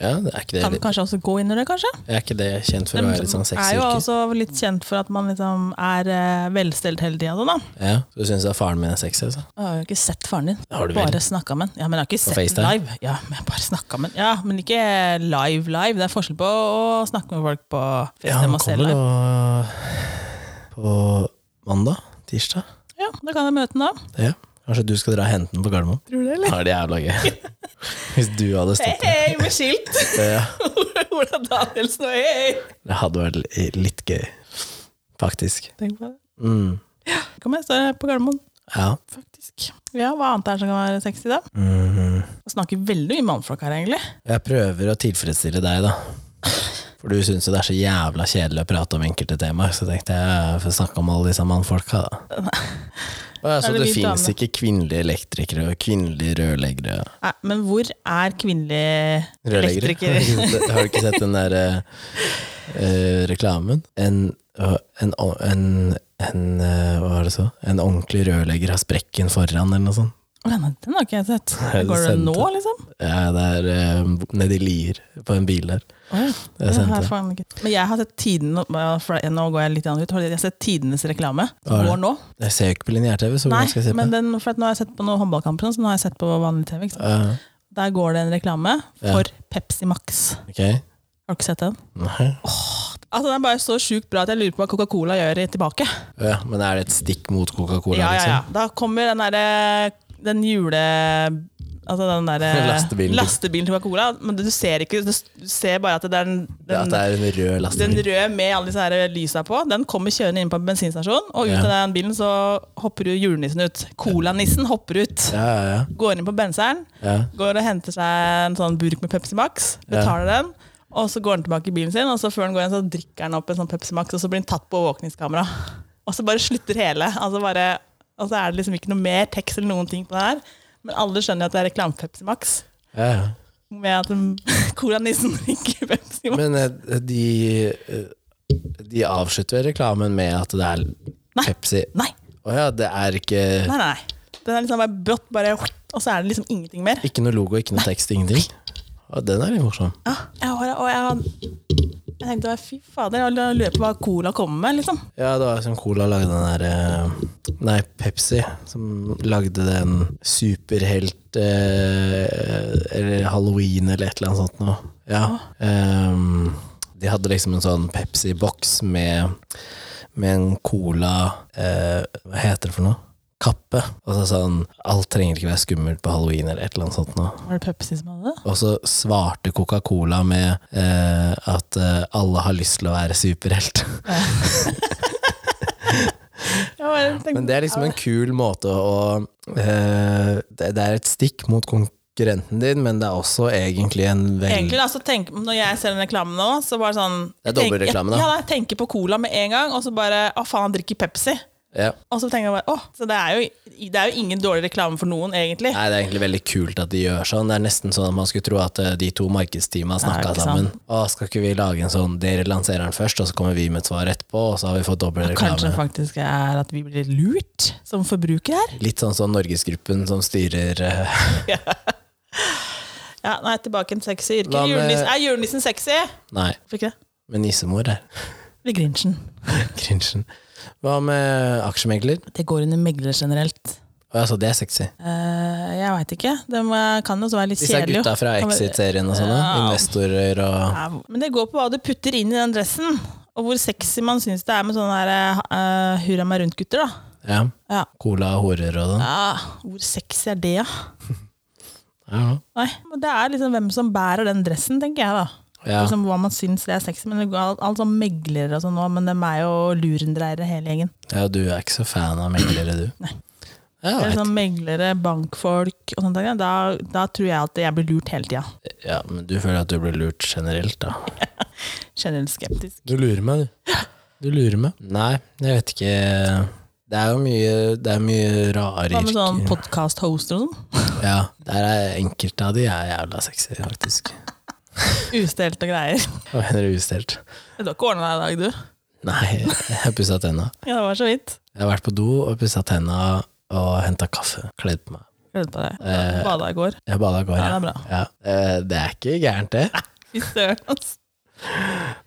Speaker 2: Ja, det er ikke det,
Speaker 1: Kan kanskje også gå inn i det, kanskje?
Speaker 2: er ikke det kjent for å være litt sånn
Speaker 1: er
Speaker 2: sexy
Speaker 1: jo
Speaker 2: yrke?
Speaker 1: også litt kjent for at man liksom er eh, velstelt hele tida. Da.
Speaker 2: Ja, så du syns faren min er sexy, altså?
Speaker 1: Jeg har jo ikke sett faren din.
Speaker 2: Har du vel?
Speaker 1: bare snakka med han. Ja, men jeg har ikke sett
Speaker 2: FaceTime?
Speaker 1: den live. Ja, men jeg har bare snakket med han. Ja, men ikke live, live. Det er forskjell på å snakke med folk på
Speaker 2: Ja, han
Speaker 1: FaceTime og se
Speaker 2: kommer
Speaker 1: live.
Speaker 2: nå eh, på mandag? Tirsdag?
Speaker 1: Ja, da kan jeg møte han da.
Speaker 2: Ja. Kanskje du skal dra og hente den på Gardermoen?
Speaker 1: Tror du det, eller?
Speaker 2: Ja, det er jævla gøy. Hvis du hadde stått der.
Speaker 1: Hei, med skilt!
Speaker 2: Ja,
Speaker 1: Ola Danielsen og hei!
Speaker 2: det hadde vært li- litt gøy. faktisk.
Speaker 1: Tenk på det.
Speaker 2: Mm.
Speaker 1: Kom igjen, står det på Gardermoen,
Speaker 2: Ja.
Speaker 1: faktisk. Ja, hva annet er det som kan være sexy, da?
Speaker 2: Mhm.
Speaker 1: Vi snakker veldig mye mannfolk her, egentlig.
Speaker 2: Jeg prøver å tilfredsstille deg, da. For du syns jo det er så jævla kjedelig å prate om enkelte temaer, så tenkte jeg får snakke om alle disse mannfolka, da. Å ja,
Speaker 1: Er
Speaker 2: så
Speaker 1: det
Speaker 2: det
Speaker 1: min
Speaker 2: fins
Speaker 1: dame?
Speaker 2: ikke kvinnelige elektrikere og kvinnelige rørleggere?
Speaker 1: Nei, men hvor er kvinnelige
Speaker 2: Rørleggere.
Speaker 1: elektrikere?
Speaker 2: Har du ikke sett den der eh, eh, reklamen? En, øh, en, o- en, en eh, Hva var det så? En ordentlig rørlegger har sprekken foran, eller noe sånt.
Speaker 1: Å, nei, den har ikke jeg sett.
Speaker 2: det
Speaker 1: Går det
Speaker 2: sendte.
Speaker 1: nå, liksom?
Speaker 2: Ja, det er eh, nedi Lier, på en bil der.
Speaker 1: Å, ja.
Speaker 2: Jeg
Speaker 1: Det har
Speaker 2: sendte
Speaker 1: jeg
Speaker 2: det.
Speaker 1: faen ikke. Men jeg har sett tidene, for nå går jeg litt annet ut, jeg har sett tidenes reklame.
Speaker 2: Hva er det?
Speaker 1: Går nå.
Speaker 2: Jeg ser jo ikke på lineær-TV, så
Speaker 1: Nei,
Speaker 2: hvordan skal jeg se på
Speaker 1: men
Speaker 2: det?
Speaker 1: den, for at nå har jeg sett på noen håndballkamper, og sånn, så nå har jeg sett på vanlig TV. Ikke sant?
Speaker 2: Ja,
Speaker 1: Der går det en reklame
Speaker 2: Ja.
Speaker 1: for Pepsi Max.
Speaker 2: ok.
Speaker 1: Har du ikke sett den?
Speaker 2: Nei.
Speaker 1: Altså, den er bare så sjukt bra at jeg lurer på hva Coca-Cola gjør i tilbake.
Speaker 2: Ja, men er det et stikk mot Coca-Cola,
Speaker 1: Ja, ja, ja.
Speaker 2: liksom?
Speaker 1: Da kommer den derre den jule... Altså den derre
Speaker 2: Lastebilen.
Speaker 1: lastebilen til Coca-Cola. Men du ser ikke Du ser bare at det er den, den
Speaker 2: Ja, at det er en rød
Speaker 1: Den
Speaker 2: lastebil.
Speaker 1: røde med alle disse her lysa på, den kommer kjørende inn på en bensinstasjon, og ut
Speaker 2: Ja.
Speaker 1: av den bilen så hopper jo julenissen ut. Colanissen hopper ut.
Speaker 2: Ja, ja, ja.
Speaker 1: Går inn på benseren,
Speaker 2: ja.
Speaker 1: går og henter seg en sånn burk med Pepsi Max, betaler den, og så går han tilbake i bilen sin, og så før han går inn, så drikker han opp en sånn Pepsi Max, og så blir han tatt på overvåkningskamera. Og så bare slutter hele. Altså bare, og så er det liksom ikke noe mer tekst eller noen ting på det her, men alle skjønner at det er reklame for Pepsi Max,
Speaker 2: ja, ja.
Speaker 1: med at den- colanissen drikker Pepsi Max.
Speaker 2: Men eh, de eh, De avslutter reklamen med at det er Pepsi.
Speaker 1: Nei!
Speaker 2: Å ja, det er ikke
Speaker 1: Nei, nei, nei. Den er liksom bare brått, bare, og så er det liksom ingenting mer.
Speaker 2: Ikke noe logo, ikke noe tekst, ingenting. Å, den er litt morsom.
Speaker 1: Ja, jeg, har, og jeg, jeg tenkte bare, fy fader, jeg lurer på hva cola kommer med, liksom.
Speaker 2: Ja, det var som Cola lagde den der eh, Nei, Pepsi, som lagde den superhelt eh, Eller Halloween eller et eller annet sånt noe. Ja. Ehm, de hadde liksom en sånn Pepsi-boks med, med en cola eh, Hva heter det for noe? Kappe. Og så sånn Alt trenger ikke være skummelt på halloween eller et eller annet sånt noe.
Speaker 1: Var det Pepsi som hadde det?
Speaker 2: Og så svarte Coca-Cola med eh, at eh, alle har lyst til å være superhelt.
Speaker 1: Jeg bare tenkte,
Speaker 2: Men det er liksom en kul måte å eh, Det det er et stikk mot konkurrenten din, men det er også egentlig en veldig
Speaker 1: Egentlig, da, så tenk, når jeg ser den reklamen nå, så bare sånn...
Speaker 2: Det er
Speaker 1: jeg tenker-
Speaker 2: dobbeltreklame, da.
Speaker 1: Ja, da, jeg tenker på cola med en gang, og så bare, å faen, han drikker Pepsi.
Speaker 2: ja.
Speaker 1: Og så tenker jeg bare, åh, så det er jo, det er jo ingen dårlig reklame for noen, egentlig.
Speaker 2: Nei, Det er egentlig veldig kult at de gjør sånn. Det er nesten sånn at man skulle tro at eh, de to markedsteama
Speaker 1: Nei,
Speaker 2: snakka
Speaker 1: ikke
Speaker 2: sammen. Å, skal ikke vi lage en sånn Dere lanserer den først, og så kommer vi med et svar etterpå, og så har vi fått dobbel
Speaker 1: Kanskje det
Speaker 2: reklame.
Speaker 1: faktisk er at vi blir lurt som forbruker her?
Speaker 2: Litt sånn som Norgesgruppen som styrer eh,
Speaker 1: Ja, nei, tilbake en sexy yrke.
Speaker 2: Hva med-
Speaker 1: Julenissen, er julenissen sexy?
Speaker 2: Nei,
Speaker 1: Hvorfor ikke det?
Speaker 2: men nissemor er
Speaker 1: Ved Grinchen.
Speaker 2: Grinchen. Hva med aksjemegler?
Speaker 1: Det går under megler generelt.
Speaker 2: Å, Altså, det er sexy.
Speaker 1: Eh, jeg veit ikke. Det må- kan jo også være litt
Speaker 2: Disse
Speaker 1: kjedelig.
Speaker 2: gutta fra
Speaker 1: Kan være-
Speaker 2: Exit-serien og sånne.
Speaker 1: Ja.
Speaker 2: Investorer og
Speaker 1: Ja, Men det går på hva du putter inn i den dressen, og hvor sexy man syns det er med sånne her, eh, hurra meg rundt-gutter. da
Speaker 2: Ja.
Speaker 1: Ja.
Speaker 2: Cola og horer og sånn.
Speaker 1: ja, Hvor sexy er det, da?
Speaker 2: Ja.
Speaker 1: Nei, men Det er liksom hvem som bærer den dressen, tenker jeg. da
Speaker 2: Ja.
Speaker 1: Liksom Hva man syns det er sexy. Men det går alt, alt sånn meglere og sånn nå, men dem er jo lurendreiere hele gjengen.
Speaker 2: ja, du er ikke så fan av meglere, du.
Speaker 1: Nei.
Speaker 2: Ja,
Speaker 1: Det er
Speaker 2: vet.
Speaker 1: sånn meglere, bankfolk og sånt. der, Da, da tror jeg at jeg blir lurt hele tida.
Speaker 2: ja, men du føler at du blir lurt generelt, da.
Speaker 1: Generelt skeptisk.
Speaker 2: Du lurer meg, du. Du lurer meg. Nei, jeg vet ikke. Det er jo mye, det er mye rare
Speaker 1: Hva med sånn
Speaker 2: yrker.
Speaker 1: podkast-hoster og sånn?
Speaker 2: Ja, der er enkelte av de er jævla sexy, faktisk.
Speaker 1: Ustelt og greier.
Speaker 2: Hva mener du ustelt?
Speaker 1: Du har ikke ordna deg i dag, du.
Speaker 2: Nei, jeg har pussa tenna.
Speaker 1: Ja, det var så vidt.
Speaker 2: Jeg har vært på do og pussa tenna og henta kaffe. Kledd på meg.
Speaker 1: Gleder på deg.
Speaker 2: Eh,
Speaker 1: Bada i går.
Speaker 2: Jeg bada i går,
Speaker 1: Ja,
Speaker 2: ja.
Speaker 1: det er bra.
Speaker 2: ja. Eh, Det er ikke gærent, det.
Speaker 1: Fy søren, ass.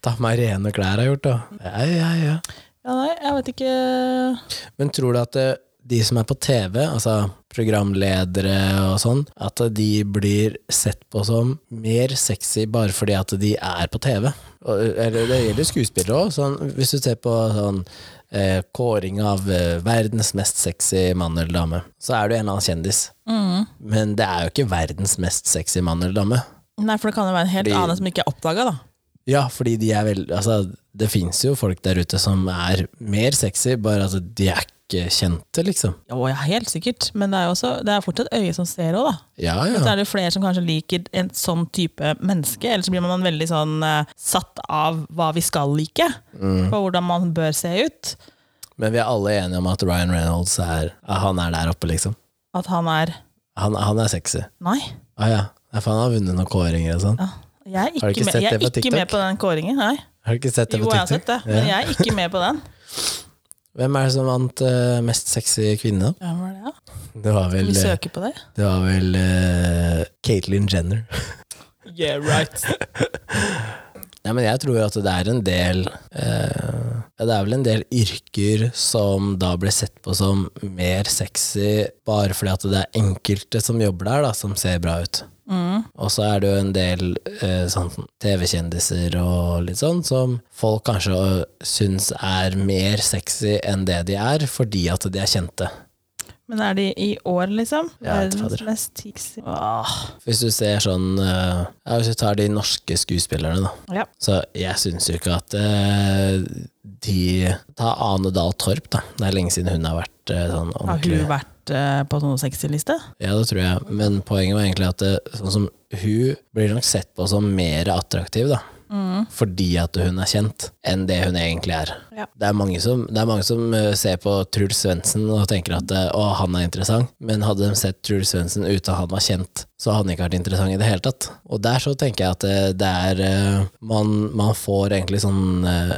Speaker 2: Ta på meg rene klær har jeg gjort, da. Ja, ja, ja.
Speaker 1: Ja, nei, jeg vet ikke
Speaker 2: Men tror du at eh, de som er på TV, altså programledere og sånn, at de blir sett på som mer sexy bare fordi at de er på TV? Og, eh, eller det gjelder skuespillere òg. Sånn, hvis du ser på sånn eh, kåring av eh, verdens mest sexy mann eller dame, så er du en eller annen kjendis. Mm. Men det er jo ikke verdens mest sexy mann eller dame.
Speaker 1: Nei, for det kan jo være en helt
Speaker 2: Fordi-
Speaker 1: annen som ikke er oppdaga, da.
Speaker 2: Ja, fordi de er veldig Altså, det fins jo folk der ute som er mer sexy, bare at de er ikke kjente, liksom.
Speaker 1: Å ja, helt sikkert. Men det er, jo også, det er fortsatt øyet som ser òg, da.
Speaker 2: Ja,
Speaker 1: Så
Speaker 2: ja.
Speaker 1: er det jo flere som kanskje liker en sånn type menneske, eller så blir man veldig sånn eh, satt av hva vi skal like, og hvordan man bør se ut.
Speaker 2: Men vi er alle enige om at Ryan Reynolds er Han er der oppe, liksom.
Speaker 1: At han er
Speaker 2: Han, han er sexy.
Speaker 1: Nei.
Speaker 2: Å ja. Nei, for han har vunnet noen kåringer og sånn.
Speaker 1: Ja. Jeg er
Speaker 2: Har du
Speaker 1: ikke,
Speaker 2: ikke
Speaker 1: med,
Speaker 2: sett
Speaker 1: jeg
Speaker 2: det
Speaker 1: er
Speaker 2: på
Speaker 1: ikke
Speaker 2: TikTok?
Speaker 1: med på den kåringen. Nei.
Speaker 2: Har du ikke sett det
Speaker 1: Jo,
Speaker 2: på
Speaker 1: jeg har sett
Speaker 2: TikTok?
Speaker 1: det, men jeg er ikke med på den.
Speaker 2: Hvem er det som vant eh, mest sexy kvinne? da?
Speaker 1: Hvem var det, da?
Speaker 2: Det var
Speaker 1: Skal
Speaker 2: vel,
Speaker 1: Vi
Speaker 2: eh,
Speaker 1: søker på det.
Speaker 2: det var vel eh, Caitlyn Jenner.
Speaker 1: Yeah, right.
Speaker 2: Nei, men jeg tror jo at det er en del eh, ja, Det er vel en del yrker som da blir sett på som mer sexy bare fordi at det er enkelte som jobber der, da, som ser bra ut.
Speaker 1: Mm.
Speaker 2: Og så er det jo en del eh, sånn TV-kjendiser og litt sånn som folk kanskje eh, syns er mer sexy enn det de er, fordi at de er kjente.
Speaker 1: Men er de i år, liksom?
Speaker 2: Ja, vet du
Speaker 1: Verdens
Speaker 2: fader.
Speaker 1: mest tiksi... Åh.
Speaker 2: Hvis du ser sånn eh, ja, Hvis du tar de norske skuespillerne, da.
Speaker 1: Ja.
Speaker 2: Så jeg syns jo ikke at eh, de Ta Ane Dahl Torp, da. Det er lenge siden hun har vært eh, sånn
Speaker 1: Har hun
Speaker 2: ordentlig
Speaker 1: vært eh, på noen sexy-liste?
Speaker 2: Ja, det tror jeg. Men poenget var egentlig at det, sånn som hun blir nok sett på som mer attraktiv, da.
Speaker 1: Mm.
Speaker 2: Fordi at hun er kjent, enn det hun egentlig er.
Speaker 1: Ja.
Speaker 2: Det er mange som, det er mange som eh, ser på Truls Svendsen og tenker at eh, å, han er interessant, men hadde de sett Truls Svendsen uten han var kjent, så hadde han ikke vært interessant i det hele tatt. Og der så tenker jeg at eh, det er eh, man, man får egentlig sånn eh,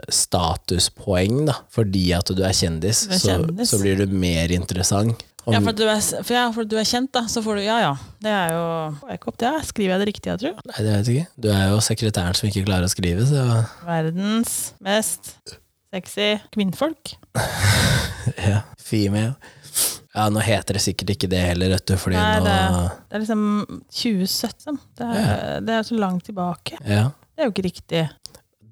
Speaker 2: statuspoeng, da. Fordi at du er kjendis,
Speaker 1: Du er kjendis.
Speaker 2: Så, så blir du mer interessant. Om-
Speaker 1: Ja, for at du er, for, ja, for at du er kjent, da. Så får du Ja ja. Det er jo Får jeg ikke opp det? her? Skriver jeg det riktig, jeg tror?
Speaker 2: Nei, det vet jeg ikke. Du er jo sekretæren som ikke klarer å skrive, så
Speaker 1: Verdens mest sexy kvinnfolk.
Speaker 2: ja. Female. Ja, nå heter det sikkert ikke det heller, vet du, fordi
Speaker 1: Nei,
Speaker 2: nå
Speaker 1: Det er liksom 2017. Det er, det er så langt tilbake.
Speaker 2: Ja.
Speaker 1: Det er jo ikke riktig.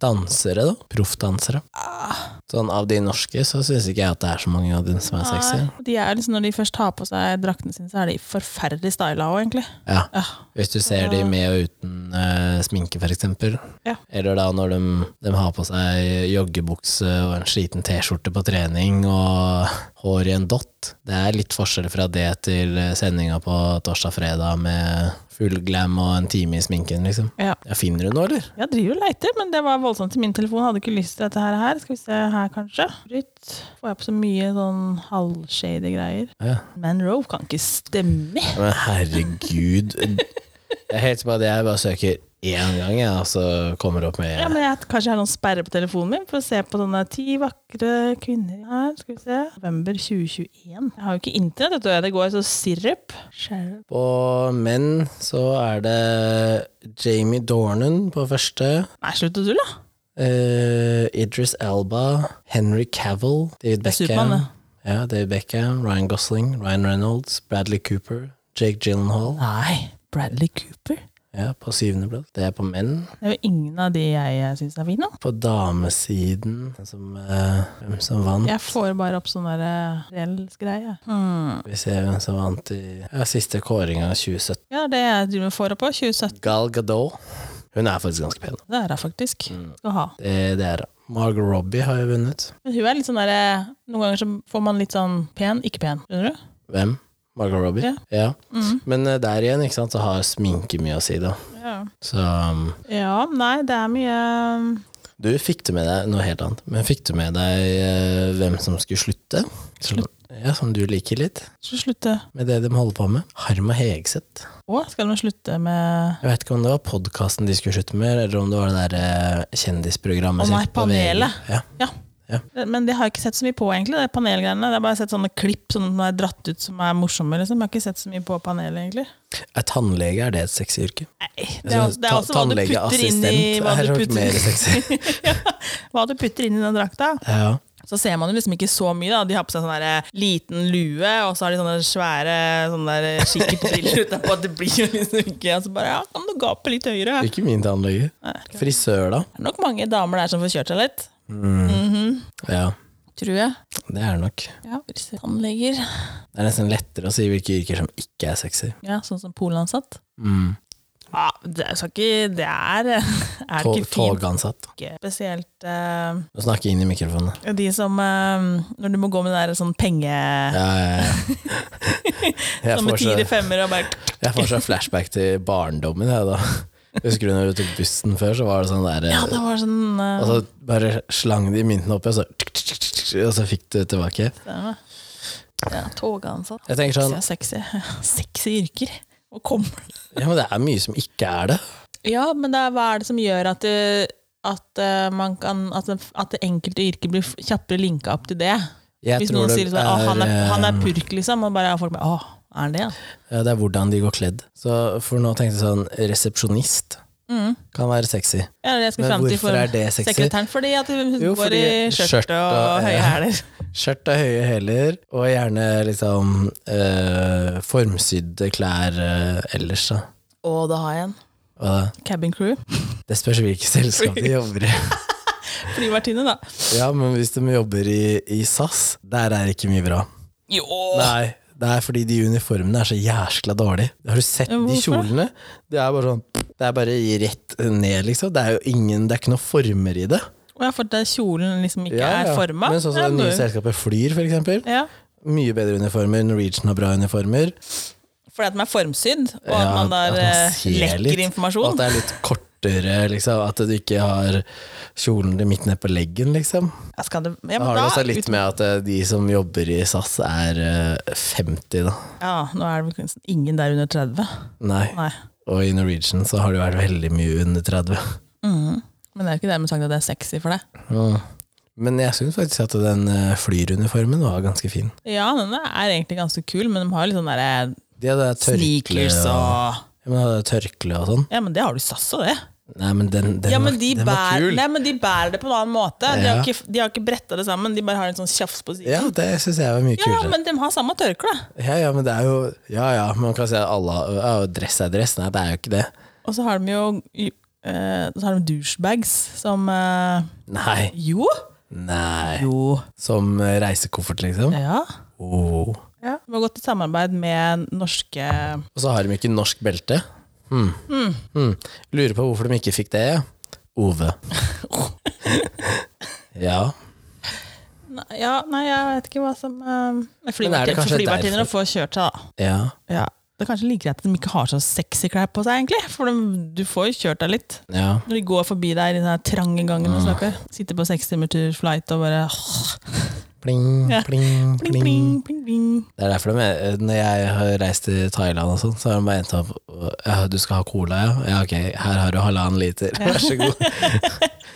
Speaker 2: Dansere, da. Proffdansere.
Speaker 1: Ah.
Speaker 2: Sånn av de norske, så syns ikke jeg at det er så mange av dem som er sexy.
Speaker 1: Nei, de er liksom, når de først har på seg draktene sine, så er de forferdelig styla òg, egentlig.
Speaker 2: Ja.
Speaker 1: Ja.
Speaker 2: Hvis du ser de med og uten eh, sminke, for eksempel.
Speaker 1: Ja.
Speaker 2: Eller da når de, de har på seg joggebukse og en sliten T-skjorte på trening og hår i en dott. Det er litt forskjell fra det til sendinga på torsdag-fredag med full glam og en time i sminken, liksom.
Speaker 1: Ja.
Speaker 2: Ja, finner du noe, eller?
Speaker 1: Jeg driver og leiter, men det var voldsomt i min telefon. Hadde ikke lyst til dette her. her. Skal vi se her, kanskje. Rytt. Får jeg på så mye sånn halvshady greier.
Speaker 2: Ja.
Speaker 1: Manroe kan ikke stemme!
Speaker 2: Men herregud. Det er helt som at jeg bare søker én gang, jeg, og så kommer det opp med
Speaker 1: Ja, men jeg, Kanskje jeg har noen sperre på telefonen min for å se på sånne ti vakre kvinner her. Skal vi se. November 2021. Jeg har jo ikke internett, vet du. Det går så sirup. Sheriff.
Speaker 2: På menn så er det Jamie Dornan på første.
Speaker 1: Nei, slutt å tulle, da.
Speaker 2: eh, Idris Elba, Henry Cavill, David
Speaker 1: Det er Superman,
Speaker 2: Beckham,
Speaker 1: det.
Speaker 2: ja, David Beckham, Ryan Gosling, Ryan Reynolds, Bradley Cooper, Jake Gyllenhaal.
Speaker 1: Nei. Bradley Cooper.
Speaker 2: Ja, på syvendeplass. Det er på menn.
Speaker 1: Det er jo ingen av de jeg syns er fine. da.
Speaker 2: På damesiden som, eh, Hvem som vant?
Speaker 1: Jeg får bare opp sånn der reellsgreie. Hmm.
Speaker 2: Vi ser hvem som vant i ja, siste kåringa 2017.
Speaker 1: Ja, det er det jeg får opp på. 2017.
Speaker 2: Gal Gadot. Hun er faktisk ganske pen.
Speaker 1: Det er hun faktisk. Skal ha.
Speaker 2: Det, det er hun. Margot Robbie har jo vunnet.
Speaker 1: Men hun er litt sånn derre Noen ganger så får man litt sånn pen, ikke pen. Skjønner du?
Speaker 2: Hvem? Margot Robbie?
Speaker 1: Ja. Mm.
Speaker 2: Ja. Men eh, der igjen, ikke sant, så har sminke mye å si, da.
Speaker 1: Ja.
Speaker 2: Så um,
Speaker 1: ja, nei, det er mye um,
Speaker 2: du fikk du med deg noe helt annet, men fikk du med deg eh, hvem som skulle slutte? Som, ja, som du liker litt,
Speaker 1: Skal vi slutte
Speaker 2: med det de holder på med. Harma Hegseth.
Speaker 1: Å, skal man slutte med
Speaker 2: Jeg vet ikke om det var podkasten de skulle slutte med, eller om det var det der eh, kjendisprogrammet
Speaker 1: Å nei,
Speaker 2: på VG.
Speaker 1: panelet.
Speaker 2: Ja.
Speaker 1: Ja.
Speaker 2: Ja.
Speaker 1: Men det har jeg ikke sett så mye på, egentlig. Det er panelgreiene. Det er bare sett sånne klipp som er dratt ut som er morsomme. Liksom. Jeg har ikke sett så mye på panelet, egentlig.
Speaker 2: Er tannlege, er det et sexy yrke?
Speaker 1: Nei, det er, det er også hva du putter inn i
Speaker 2: Tannlegeassistent
Speaker 1: hva
Speaker 2: er
Speaker 1: du
Speaker 2: jo mer
Speaker 1: putter,
Speaker 2: sexy.
Speaker 1: hva du putter inn i den drakta.
Speaker 2: Ja.
Speaker 1: Så ser man jo liksom ikke så mye. da De har på seg sånn der liten lue, og så har de sånne svære sånne der skikkerbriller utenpå. Det blir jo liksom ikke Og så bare ja, kan du gape litt høyere?
Speaker 2: Ikke min tannlege. Frisør, da? Mm.
Speaker 1: Det er nok mange damer der som får kjørt seg litt. Mhm,
Speaker 2: Ja,
Speaker 1: Tror jeg.
Speaker 2: det er det nok.
Speaker 1: Ja, Tannleger.
Speaker 2: Det er nesten lettere å si hvilke yrker som ikke er sexy. Mm.
Speaker 1: Ja, sånn som polansatt. Ja, det er, så ikke, det er, er det
Speaker 2: Tog,
Speaker 1: ikke fint.
Speaker 2: togansatt.
Speaker 1: Spesielt eh,
Speaker 2: Snakke inn i mikrofonen.
Speaker 1: de som eh, Når du må gå med den der sånn penge...
Speaker 2: Ja, ja, ja. Jeg
Speaker 1: Som med
Speaker 2: får så-
Speaker 1: tiere femmer og bare
Speaker 2: Jeg får sånn flashback til barndommen, jeg da. Husker du når du tok bussen før, så var det sånn der eh,
Speaker 1: Ja, det var sånn eh,
Speaker 2: Og så bare slang de myntene oppi, og så tikk, tikk, tikk, tikk, Og så fikk du tilbake.
Speaker 1: stemme. ja, Togansatt.
Speaker 2: Jeg tenker sånn
Speaker 1: Så sexy. Sexy yrker. Og kommer
Speaker 2: Ja, men det er mye som ikke er det.
Speaker 1: Ja, men det er, hva er det som gjør at det, at, eh, man kan, at, det, at det enkelte yrket blir f- kjappere linka opp til det?
Speaker 2: Jeg
Speaker 1: Hvis
Speaker 2: tror
Speaker 1: noen
Speaker 2: det
Speaker 1: sier sånn, «Å, han, er,
Speaker 2: eh,
Speaker 1: han er purk, liksom, og bare er folk med Å, er han det? Ja?
Speaker 2: ja, Det er hvordan de går kledd. Så for nå tenkte jeg sånn Resepsjonist
Speaker 1: Mm.
Speaker 2: kan være sexy.
Speaker 1: Ja, det er det jeg skulle
Speaker 2: Men
Speaker 1: frem til
Speaker 2: hvorfor
Speaker 1: for
Speaker 2: er det sexy?
Speaker 1: sekretæren. Fordi at hun
Speaker 2: Jo,
Speaker 1: går i
Speaker 2: fordi skjørt
Speaker 1: skjørt og
Speaker 2: og-
Speaker 1: høye
Speaker 2: ja.
Speaker 1: hæler.
Speaker 2: Skjørt og høye hæler, og gjerne liksom eh, formsydde klær eh, ellers, da.
Speaker 1: Å, da har jeg en.
Speaker 2: Og da-
Speaker 1: Cabin crew.
Speaker 2: det spørs hvilket selskap de jobber i.
Speaker 1: Flyvertinne, da.
Speaker 2: Ja, men hvis de jobber i, i SAS, der er det ikke mye bra.
Speaker 1: Jo!
Speaker 2: Nei, det er fordi de uniformene er så jæskla dårlige. Har du sett
Speaker 1: Ja,
Speaker 2: de
Speaker 1: hvorfor?
Speaker 2: kjolene? Det er bare sånn Det er bare rett ned, liksom. Det er jo ingen Det er ikke noen former i det.
Speaker 1: Og jeg har fått at kjolen liksom ikke
Speaker 2: Ja, ja.
Speaker 1: er forma.
Speaker 2: Men sånn som det nye selskapet Flyr, for eksempel.
Speaker 1: ja.
Speaker 2: Mye bedre uniformer. Norwegian har bra uniformer.
Speaker 1: Fordi at den er formsydd, og at
Speaker 2: Ja,
Speaker 1: man der eh,
Speaker 2: ser
Speaker 1: lekker
Speaker 2: litt, Og at
Speaker 1: informasjon.
Speaker 2: det er litt kortere, liksom. At du ikke har kjolen din midt ned på leggen, liksom.
Speaker 1: Ja, skal det,
Speaker 2: Da
Speaker 1: ja, men
Speaker 2: har det
Speaker 1: da,
Speaker 2: også litt med at eh, de som jobber i SAS, er eh, 50, da.
Speaker 1: ja, nå er det vel ingen der under 30.
Speaker 2: Nei.
Speaker 1: Nei.
Speaker 2: Og i Norwegian så har det vært veldig mye under 30.
Speaker 1: Mhm. Men det er jo ikke dermed sagt at det er sexy for deg.
Speaker 2: Ja. Men jeg syns faktisk at den eh, flyruniformen var ganske fin.
Speaker 1: Ja, den er egentlig ganske kul, men de har jo litt sånn derre
Speaker 2: De hadde tørkle
Speaker 1: sneakers
Speaker 2: og,
Speaker 1: og
Speaker 2: ja, men de hadde tørkle og sånn.
Speaker 1: Ja, men det har du i SAS og det.
Speaker 2: Nei, men den, den,
Speaker 1: ja,
Speaker 2: var,
Speaker 1: men de,
Speaker 2: den var
Speaker 1: bærer,
Speaker 2: kul.
Speaker 1: nei, men de bærer det på en annen måte. De har
Speaker 2: Ja.
Speaker 1: ikke, de har ikke bretta det sammen, de bare har en sånn tjafs på siden.
Speaker 2: Ja, det syns jeg var mye
Speaker 1: Ja,
Speaker 2: kulere.
Speaker 1: men de har samme tørkle.
Speaker 2: Ja, ja, men det er jo Ja, ja, man kan si at alle ja, dress er dress. Nei, det er jo ikke det.
Speaker 1: Og så har de jo eh, så har de douchebags som eh,
Speaker 2: Nei.
Speaker 1: Jo!
Speaker 2: Nei.
Speaker 1: Jo.
Speaker 2: Som eh, reisekoffert, liksom.
Speaker 1: Ja.
Speaker 2: Oh.
Speaker 1: Vi har gått i samarbeid med norske
Speaker 2: Og så har de ikke norsk belte. Hmm. Hmm. Lurer på hvorfor de ikke fikk det. Ove. ja.
Speaker 1: Nei, Ja, nei, jeg vet ikke hva som eh,
Speaker 2: Men er det
Speaker 1: flyvertin-
Speaker 2: kanskje
Speaker 1: Flyvertinner å få kjørt seg, da.
Speaker 2: ja.
Speaker 1: Ja. Det er kanskje like greit at de ikke har så sexy klær på seg, egentlig. For de, du får jo kjørt deg litt.
Speaker 2: Ja.
Speaker 1: Når de går forbi deg i den her trange gangen
Speaker 2: Ah.
Speaker 1: og snakker. Sitter på sekstimertur flight og bare åh,
Speaker 2: Pling,
Speaker 1: Ja.
Speaker 2: pling,
Speaker 1: pling,
Speaker 2: pling.
Speaker 1: pling, pling, pling.
Speaker 2: Det er derfor de, eh, når jeg har reist til Thailand og sånn, så har de bare endt opp ja, Du skal ha cola, ja? Ja, ok, her har du halvannen liter, vær så god.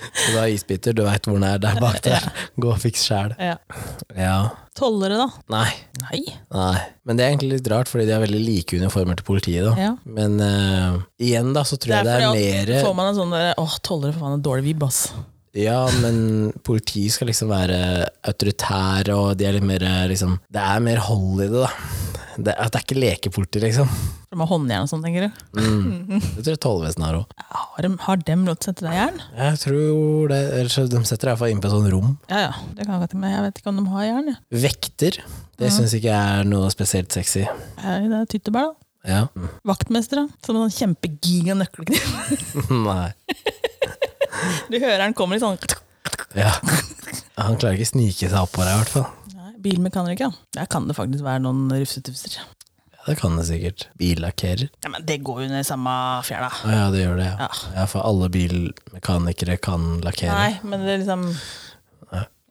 Speaker 2: Så du har isbiter, du veit hvor den er der bak der. Gå og fiks sjæl.
Speaker 1: Ja.
Speaker 2: Ja.
Speaker 1: Tollere, da?
Speaker 2: Nei.
Speaker 1: Nei.
Speaker 2: Nei. Men det er egentlig litt rart, fordi de har veldig like uniformer til politiet, da.
Speaker 1: Ja.
Speaker 2: Men eh, igjen, da, så tror jeg det er
Speaker 1: Derfor
Speaker 2: mere
Speaker 1: får man en sånn derre åh, tollere for faen en dårlig vibb, ass.
Speaker 2: Ja, men politiet skal liksom være autoritære, og de er litt mer eh, liksom Det er mer hold i det, da. Det, at det er ikke lekepoliti, liksom.
Speaker 1: For de har håndjern og sånn, tenker du.
Speaker 2: Det tror jeg tollvesenet har òg.
Speaker 1: Har, de, har dem lov til å sette deg i jern?
Speaker 2: Jeg tror det Ellers så de setter deg iallfall inn på et sånt rom.
Speaker 1: Ja ja, det kan jeg godt men jeg vet ikke om de har jern. jeg.
Speaker 2: Vekter, det syns ikke jeg er noe spesielt sexy.
Speaker 1: Her i Det er tyttebær, da.
Speaker 2: Ja.
Speaker 1: Vaktmestere, som en sånn kjempegiga nøkkelkniv.
Speaker 2: Nei.
Speaker 1: Du hører han kommer litt sånn
Speaker 2: Ja. Han klarer ikke snike seg oppå deg, i hvert fall.
Speaker 1: Nei, Bilmekaniker, ja. Der kan det faktisk være noen rufsetufser.
Speaker 2: Ja, det kan det sikkert. Billakkerer.
Speaker 1: Ja, men det går jo under samme fjæra.
Speaker 2: Å ja, det gjør det, ja.
Speaker 1: Ja.
Speaker 2: ja. For alle bilmekanikere kan lakkere.
Speaker 1: Nei, men det er liksom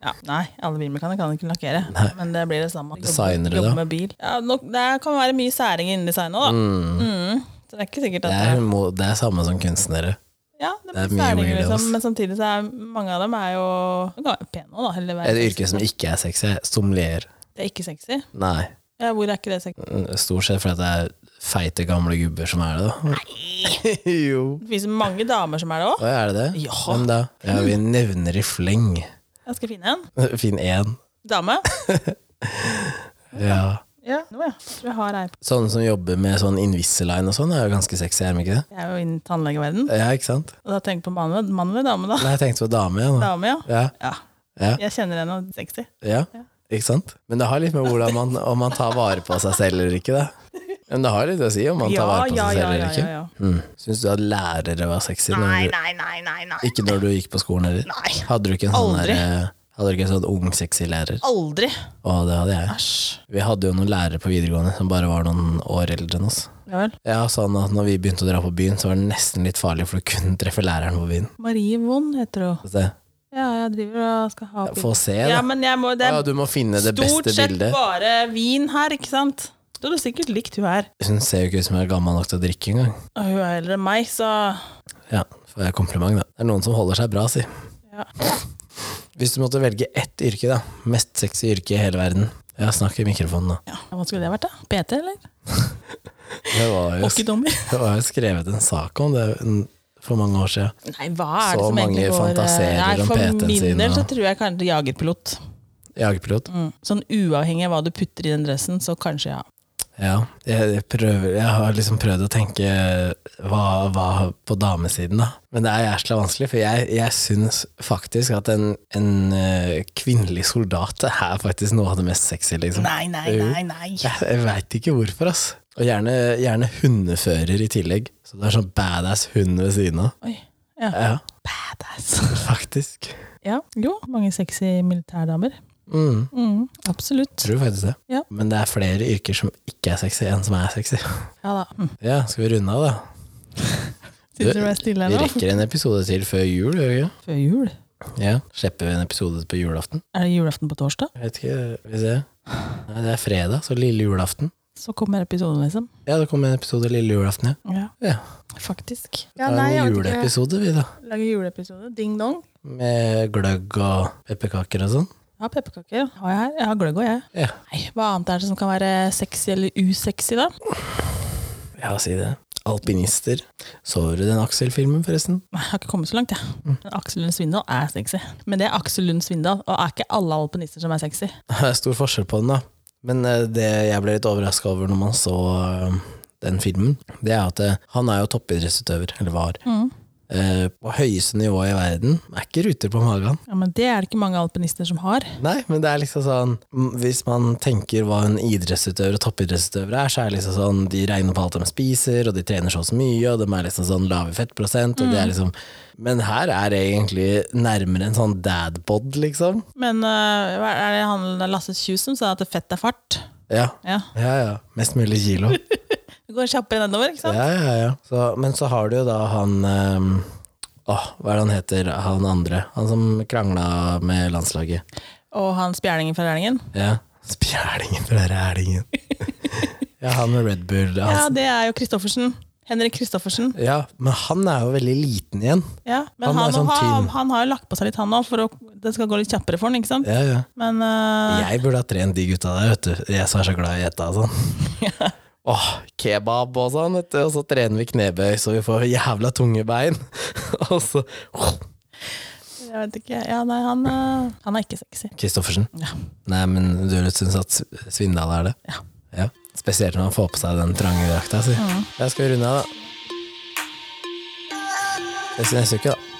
Speaker 1: ja, Nei, alle bilmekanikere kan ikke lakkere, men det blir det samme.
Speaker 2: Designere,
Speaker 1: Jobbe- jobbe
Speaker 2: da?
Speaker 1: Med bil. Ja, nok, det kan være mye særing innen design òg, da. Mm. Så det er ikke sikkert
Speaker 2: Det
Speaker 1: at
Speaker 2: er, mo- det er samme som kunstnere.
Speaker 1: Ja, det
Speaker 2: det
Speaker 1: er
Speaker 2: er mye
Speaker 1: mye særing,
Speaker 2: weird,
Speaker 1: liksom,
Speaker 2: ass.
Speaker 1: men samtidig så er mange av dem er jo de kan være pene òg, da. Eller
Speaker 2: Et
Speaker 1: være
Speaker 2: yrke som ikke er sexy, er sommelier.
Speaker 1: Det er ikke sexy.
Speaker 2: Nei.
Speaker 1: Ja, hvor er ikke det sexy?
Speaker 2: Stort sett fordi det er feite, gamle gubber som er det, da. Nei! jo.
Speaker 1: Det finnes mange damer som er det òg.
Speaker 2: Å, er det det?
Speaker 1: Ja.
Speaker 2: Hvem da? Ja, vi nevner i fleng.
Speaker 1: Jeg skal finne en.
Speaker 2: Finn én.
Speaker 1: Dame.
Speaker 2: Ja.
Speaker 1: Ja, nå ja. Jeg tror jeg har ei.
Speaker 2: Sånne som jobber med sånn Invisalign og sånn, er jo ganske sexy, er de ikke det?
Speaker 1: Jeg er jo innen tannlegeverdenen,
Speaker 2: Ja, ikke sant?
Speaker 1: og da tenker jeg på mann eller mann eller dame, da.
Speaker 2: Nei, jeg tenkte på dame, ja. Nå.
Speaker 1: Dame, ja.
Speaker 2: Ja,
Speaker 1: ja.
Speaker 2: ja,
Speaker 1: Jeg kjenner henne, og sexy.
Speaker 2: ja. Ikke sant? Men det har litt med hvordan man, om man tar vare på seg selv eller ikke, da. Men det har litt å si om man tar vare på seg selv eller ikke.
Speaker 1: ja.
Speaker 2: Mm. Syns du at lærere var sexy? når
Speaker 1: Nei,
Speaker 2: du-
Speaker 1: nei, nei, nei, nei.
Speaker 2: Ikke når du gikk på skolen heller?
Speaker 1: Nei.
Speaker 2: Hadde du ikke en sånn,
Speaker 1: Aldri.
Speaker 2: der, eh, hadde du ikke en sånn ung, sexy lærer?
Speaker 1: Aldri.
Speaker 2: Å, det hadde jeg. Vi hadde jo noen lærere på videregående som bare var noen år eldre enn oss.
Speaker 1: Ja vel.
Speaker 2: Ja, sånn at når vi begynte å dra på byen, så var det nesten litt farlig, for du kunne treffe læreren på byen.
Speaker 1: Marie Wond heter hun.
Speaker 2: Få se.
Speaker 1: Ja, jeg driver og skal ha opp i-
Speaker 2: Få se,
Speaker 1: Ja,
Speaker 2: da.
Speaker 1: men jeg må, det
Speaker 2: Ja,
Speaker 1: er
Speaker 2: du må finne det
Speaker 1: stort
Speaker 2: beste
Speaker 1: sett
Speaker 2: bildet.
Speaker 1: bare vin her, ikke sant? Du hadde sikkert likt hun her.
Speaker 2: Hun ser jo ikke ut som hun er gammel nok til å drikke engang.
Speaker 1: Og Hun er eldre enn meg, så
Speaker 2: Ja, får jeg kompliment, da. Det er noen som holder seg bra, si.
Speaker 1: Ja.
Speaker 2: Hvis du måtte velge ett yrke, da. Mest sexy yrke i hele verden. Ja, snakk i mikrofonen, da.
Speaker 1: ja. Hva skulle det vært, da? PT, eller?
Speaker 2: Det var jo,
Speaker 1: Hockeydommer?
Speaker 2: det var jo skrevet en sak om det en- for mange år siden.
Speaker 1: Nei, hva er det
Speaker 2: Så
Speaker 1: som egentlig
Speaker 2: mange
Speaker 1: går eh,
Speaker 2: fantaserer
Speaker 1: nei,
Speaker 2: om PT-en
Speaker 1: For
Speaker 2: sin,
Speaker 1: min del så
Speaker 2: og-
Speaker 1: tror jeg kanskje jagerpilot.
Speaker 2: Jagerpilot.
Speaker 1: Mm. Sånn uavhengig av hva du putter i den dressen, så kanskje ja.
Speaker 2: Ja. Jeg, jeg, prøver, jeg har liksom prøvd å tenke hva, hva på damesiden, da. Men det er jævla vanskelig, for jeg, jeg syns faktisk at en, en eh, kvinnelig soldat er faktisk noe av det mest sexy, liksom.
Speaker 1: Nei, nei,
Speaker 2: Jo.
Speaker 1: nei, nei.
Speaker 2: Jeg, jeg veit ikke hvorfor, ass. Og gjerne, gjerne hundefører i tillegg. Så det er sånn badass hund ved siden av.
Speaker 1: Oi. Ja.
Speaker 2: Ja,
Speaker 1: Badass.
Speaker 2: faktisk.
Speaker 1: Ja. Jo, mange sexy militærdamer.
Speaker 2: Mm,
Speaker 1: Mm, absolutt.
Speaker 2: tror faktisk det.
Speaker 1: Ja.
Speaker 2: Men det er flere yrker som ikke er sexy, enn som er sexy.
Speaker 1: Ja da. Mm.
Speaker 2: Ja, skal vi runde av, da?
Speaker 1: Sitter du og er stille
Speaker 2: Vi
Speaker 1: her nå?
Speaker 2: rekker en episode til før jul, gjør vi ikke?
Speaker 1: Før jul?
Speaker 2: Ja. Slipper vi en episode på julaften?
Speaker 1: Er det julaften på torsdag?
Speaker 2: Jeg vet ikke, vi ser. Nei, det er fredag, så lille julaften.
Speaker 1: Så kommer episoden, liksom.
Speaker 2: Ja, det kommer en episode lille julaften, ja.
Speaker 1: Ja.
Speaker 2: Ja.
Speaker 1: Faktisk.
Speaker 2: Da er det en juleepisode, vi, da.
Speaker 1: Lager juleepisode. Ding dong.
Speaker 2: Med gløgg og pepperkaker og sånn.
Speaker 1: Ja, pepperkaker har jeg her. Jeg har gløgg òg, jeg.
Speaker 2: Ja.
Speaker 1: Nei, hva annet er det som kan være sexy eller usexy, da?
Speaker 2: Ja, si det. Alpinister. Så du den Aksel-filmen, forresten?
Speaker 1: Nei, Jeg har ikke kommet så langt, jeg. Men Aksel Lund Svindal er sexy. Men det er Aksel Lund Svindal, og er ikke alle alpinister som er sexy.
Speaker 2: Det er stor forskjell på den, da. Men eh, det jeg ble litt overraska over når man så eh, den filmen, det er at eh, han er jo toppidrettsutøver, eller var. Eh, På høyeste nivå i verden. Er ikke ruter på magen.
Speaker 1: Ja, Men det er det ikke mange alpinister som har.
Speaker 2: Nei, men det er liksom sånn mm, Hvis man tenker hva en idrettsutøver og toppidrettsutøver er, så er det liksom sånn de regner på alt de spiser, og de trener så og så mye, og de er liksom sånn lave i fettprosent, og de er liksom Men her er det egentlig nærmere en sånn dadbod, liksom.
Speaker 1: Men øh, hva er det han Lasse Kjus som sa at fett er fart?
Speaker 2: Ja.
Speaker 1: Ja.
Speaker 2: Ja, ja. Mest mulig kilo.
Speaker 1: Det går kjappere nedover, ikke sant?
Speaker 2: Ja, ja, ja. Så, men så har du jo da han um, Åh, hva er det han heter, han andre? Han som krangla med landslaget.
Speaker 1: Og han spjælingen fra Rælingen.
Speaker 2: Ja. Spjælingen fra Rælingen. ja, han med Red Bull. Han
Speaker 1: Ja, det er jo Kristoffersen. Henrik Kristoffersen.
Speaker 2: Ja, men han er jo veldig liten igjen.
Speaker 1: Ja. Men
Speaker 2: Han er
Speaker 1: han,
Speaker 2: sånn
Speaker 1: har,
Speaker 2: tynn.
Speaker 1: han har jo lagt på seg litt, han òg, for å, det skal gå litt kjappere for han, ikke sant?
Speaker 2: Ja, ja.
Speaker 1: Men øh,
Speaker 2: Jeg burde ha trent de gutta der, vet du. Jeg som er så glad i å gjette og sånn. Åh, kebab og sånn, vet du. Og så trener vi knebøy, så vi får jævla tunge bein. og så
Speaker 1: jeg vet ikke. Ja, nei, han, øh, han er ikke sexy.
Speaker 2: Kristoffersen.
Speaker 1: Ja.
Speaker 2: Nei, men du syns at Svindal er det?
Speaker 1: Ja.
Speaker 2: ja. Spesielt når han får på seg den trange drakta si. Jeg skal vi runde av, da. Det er neste uke, da.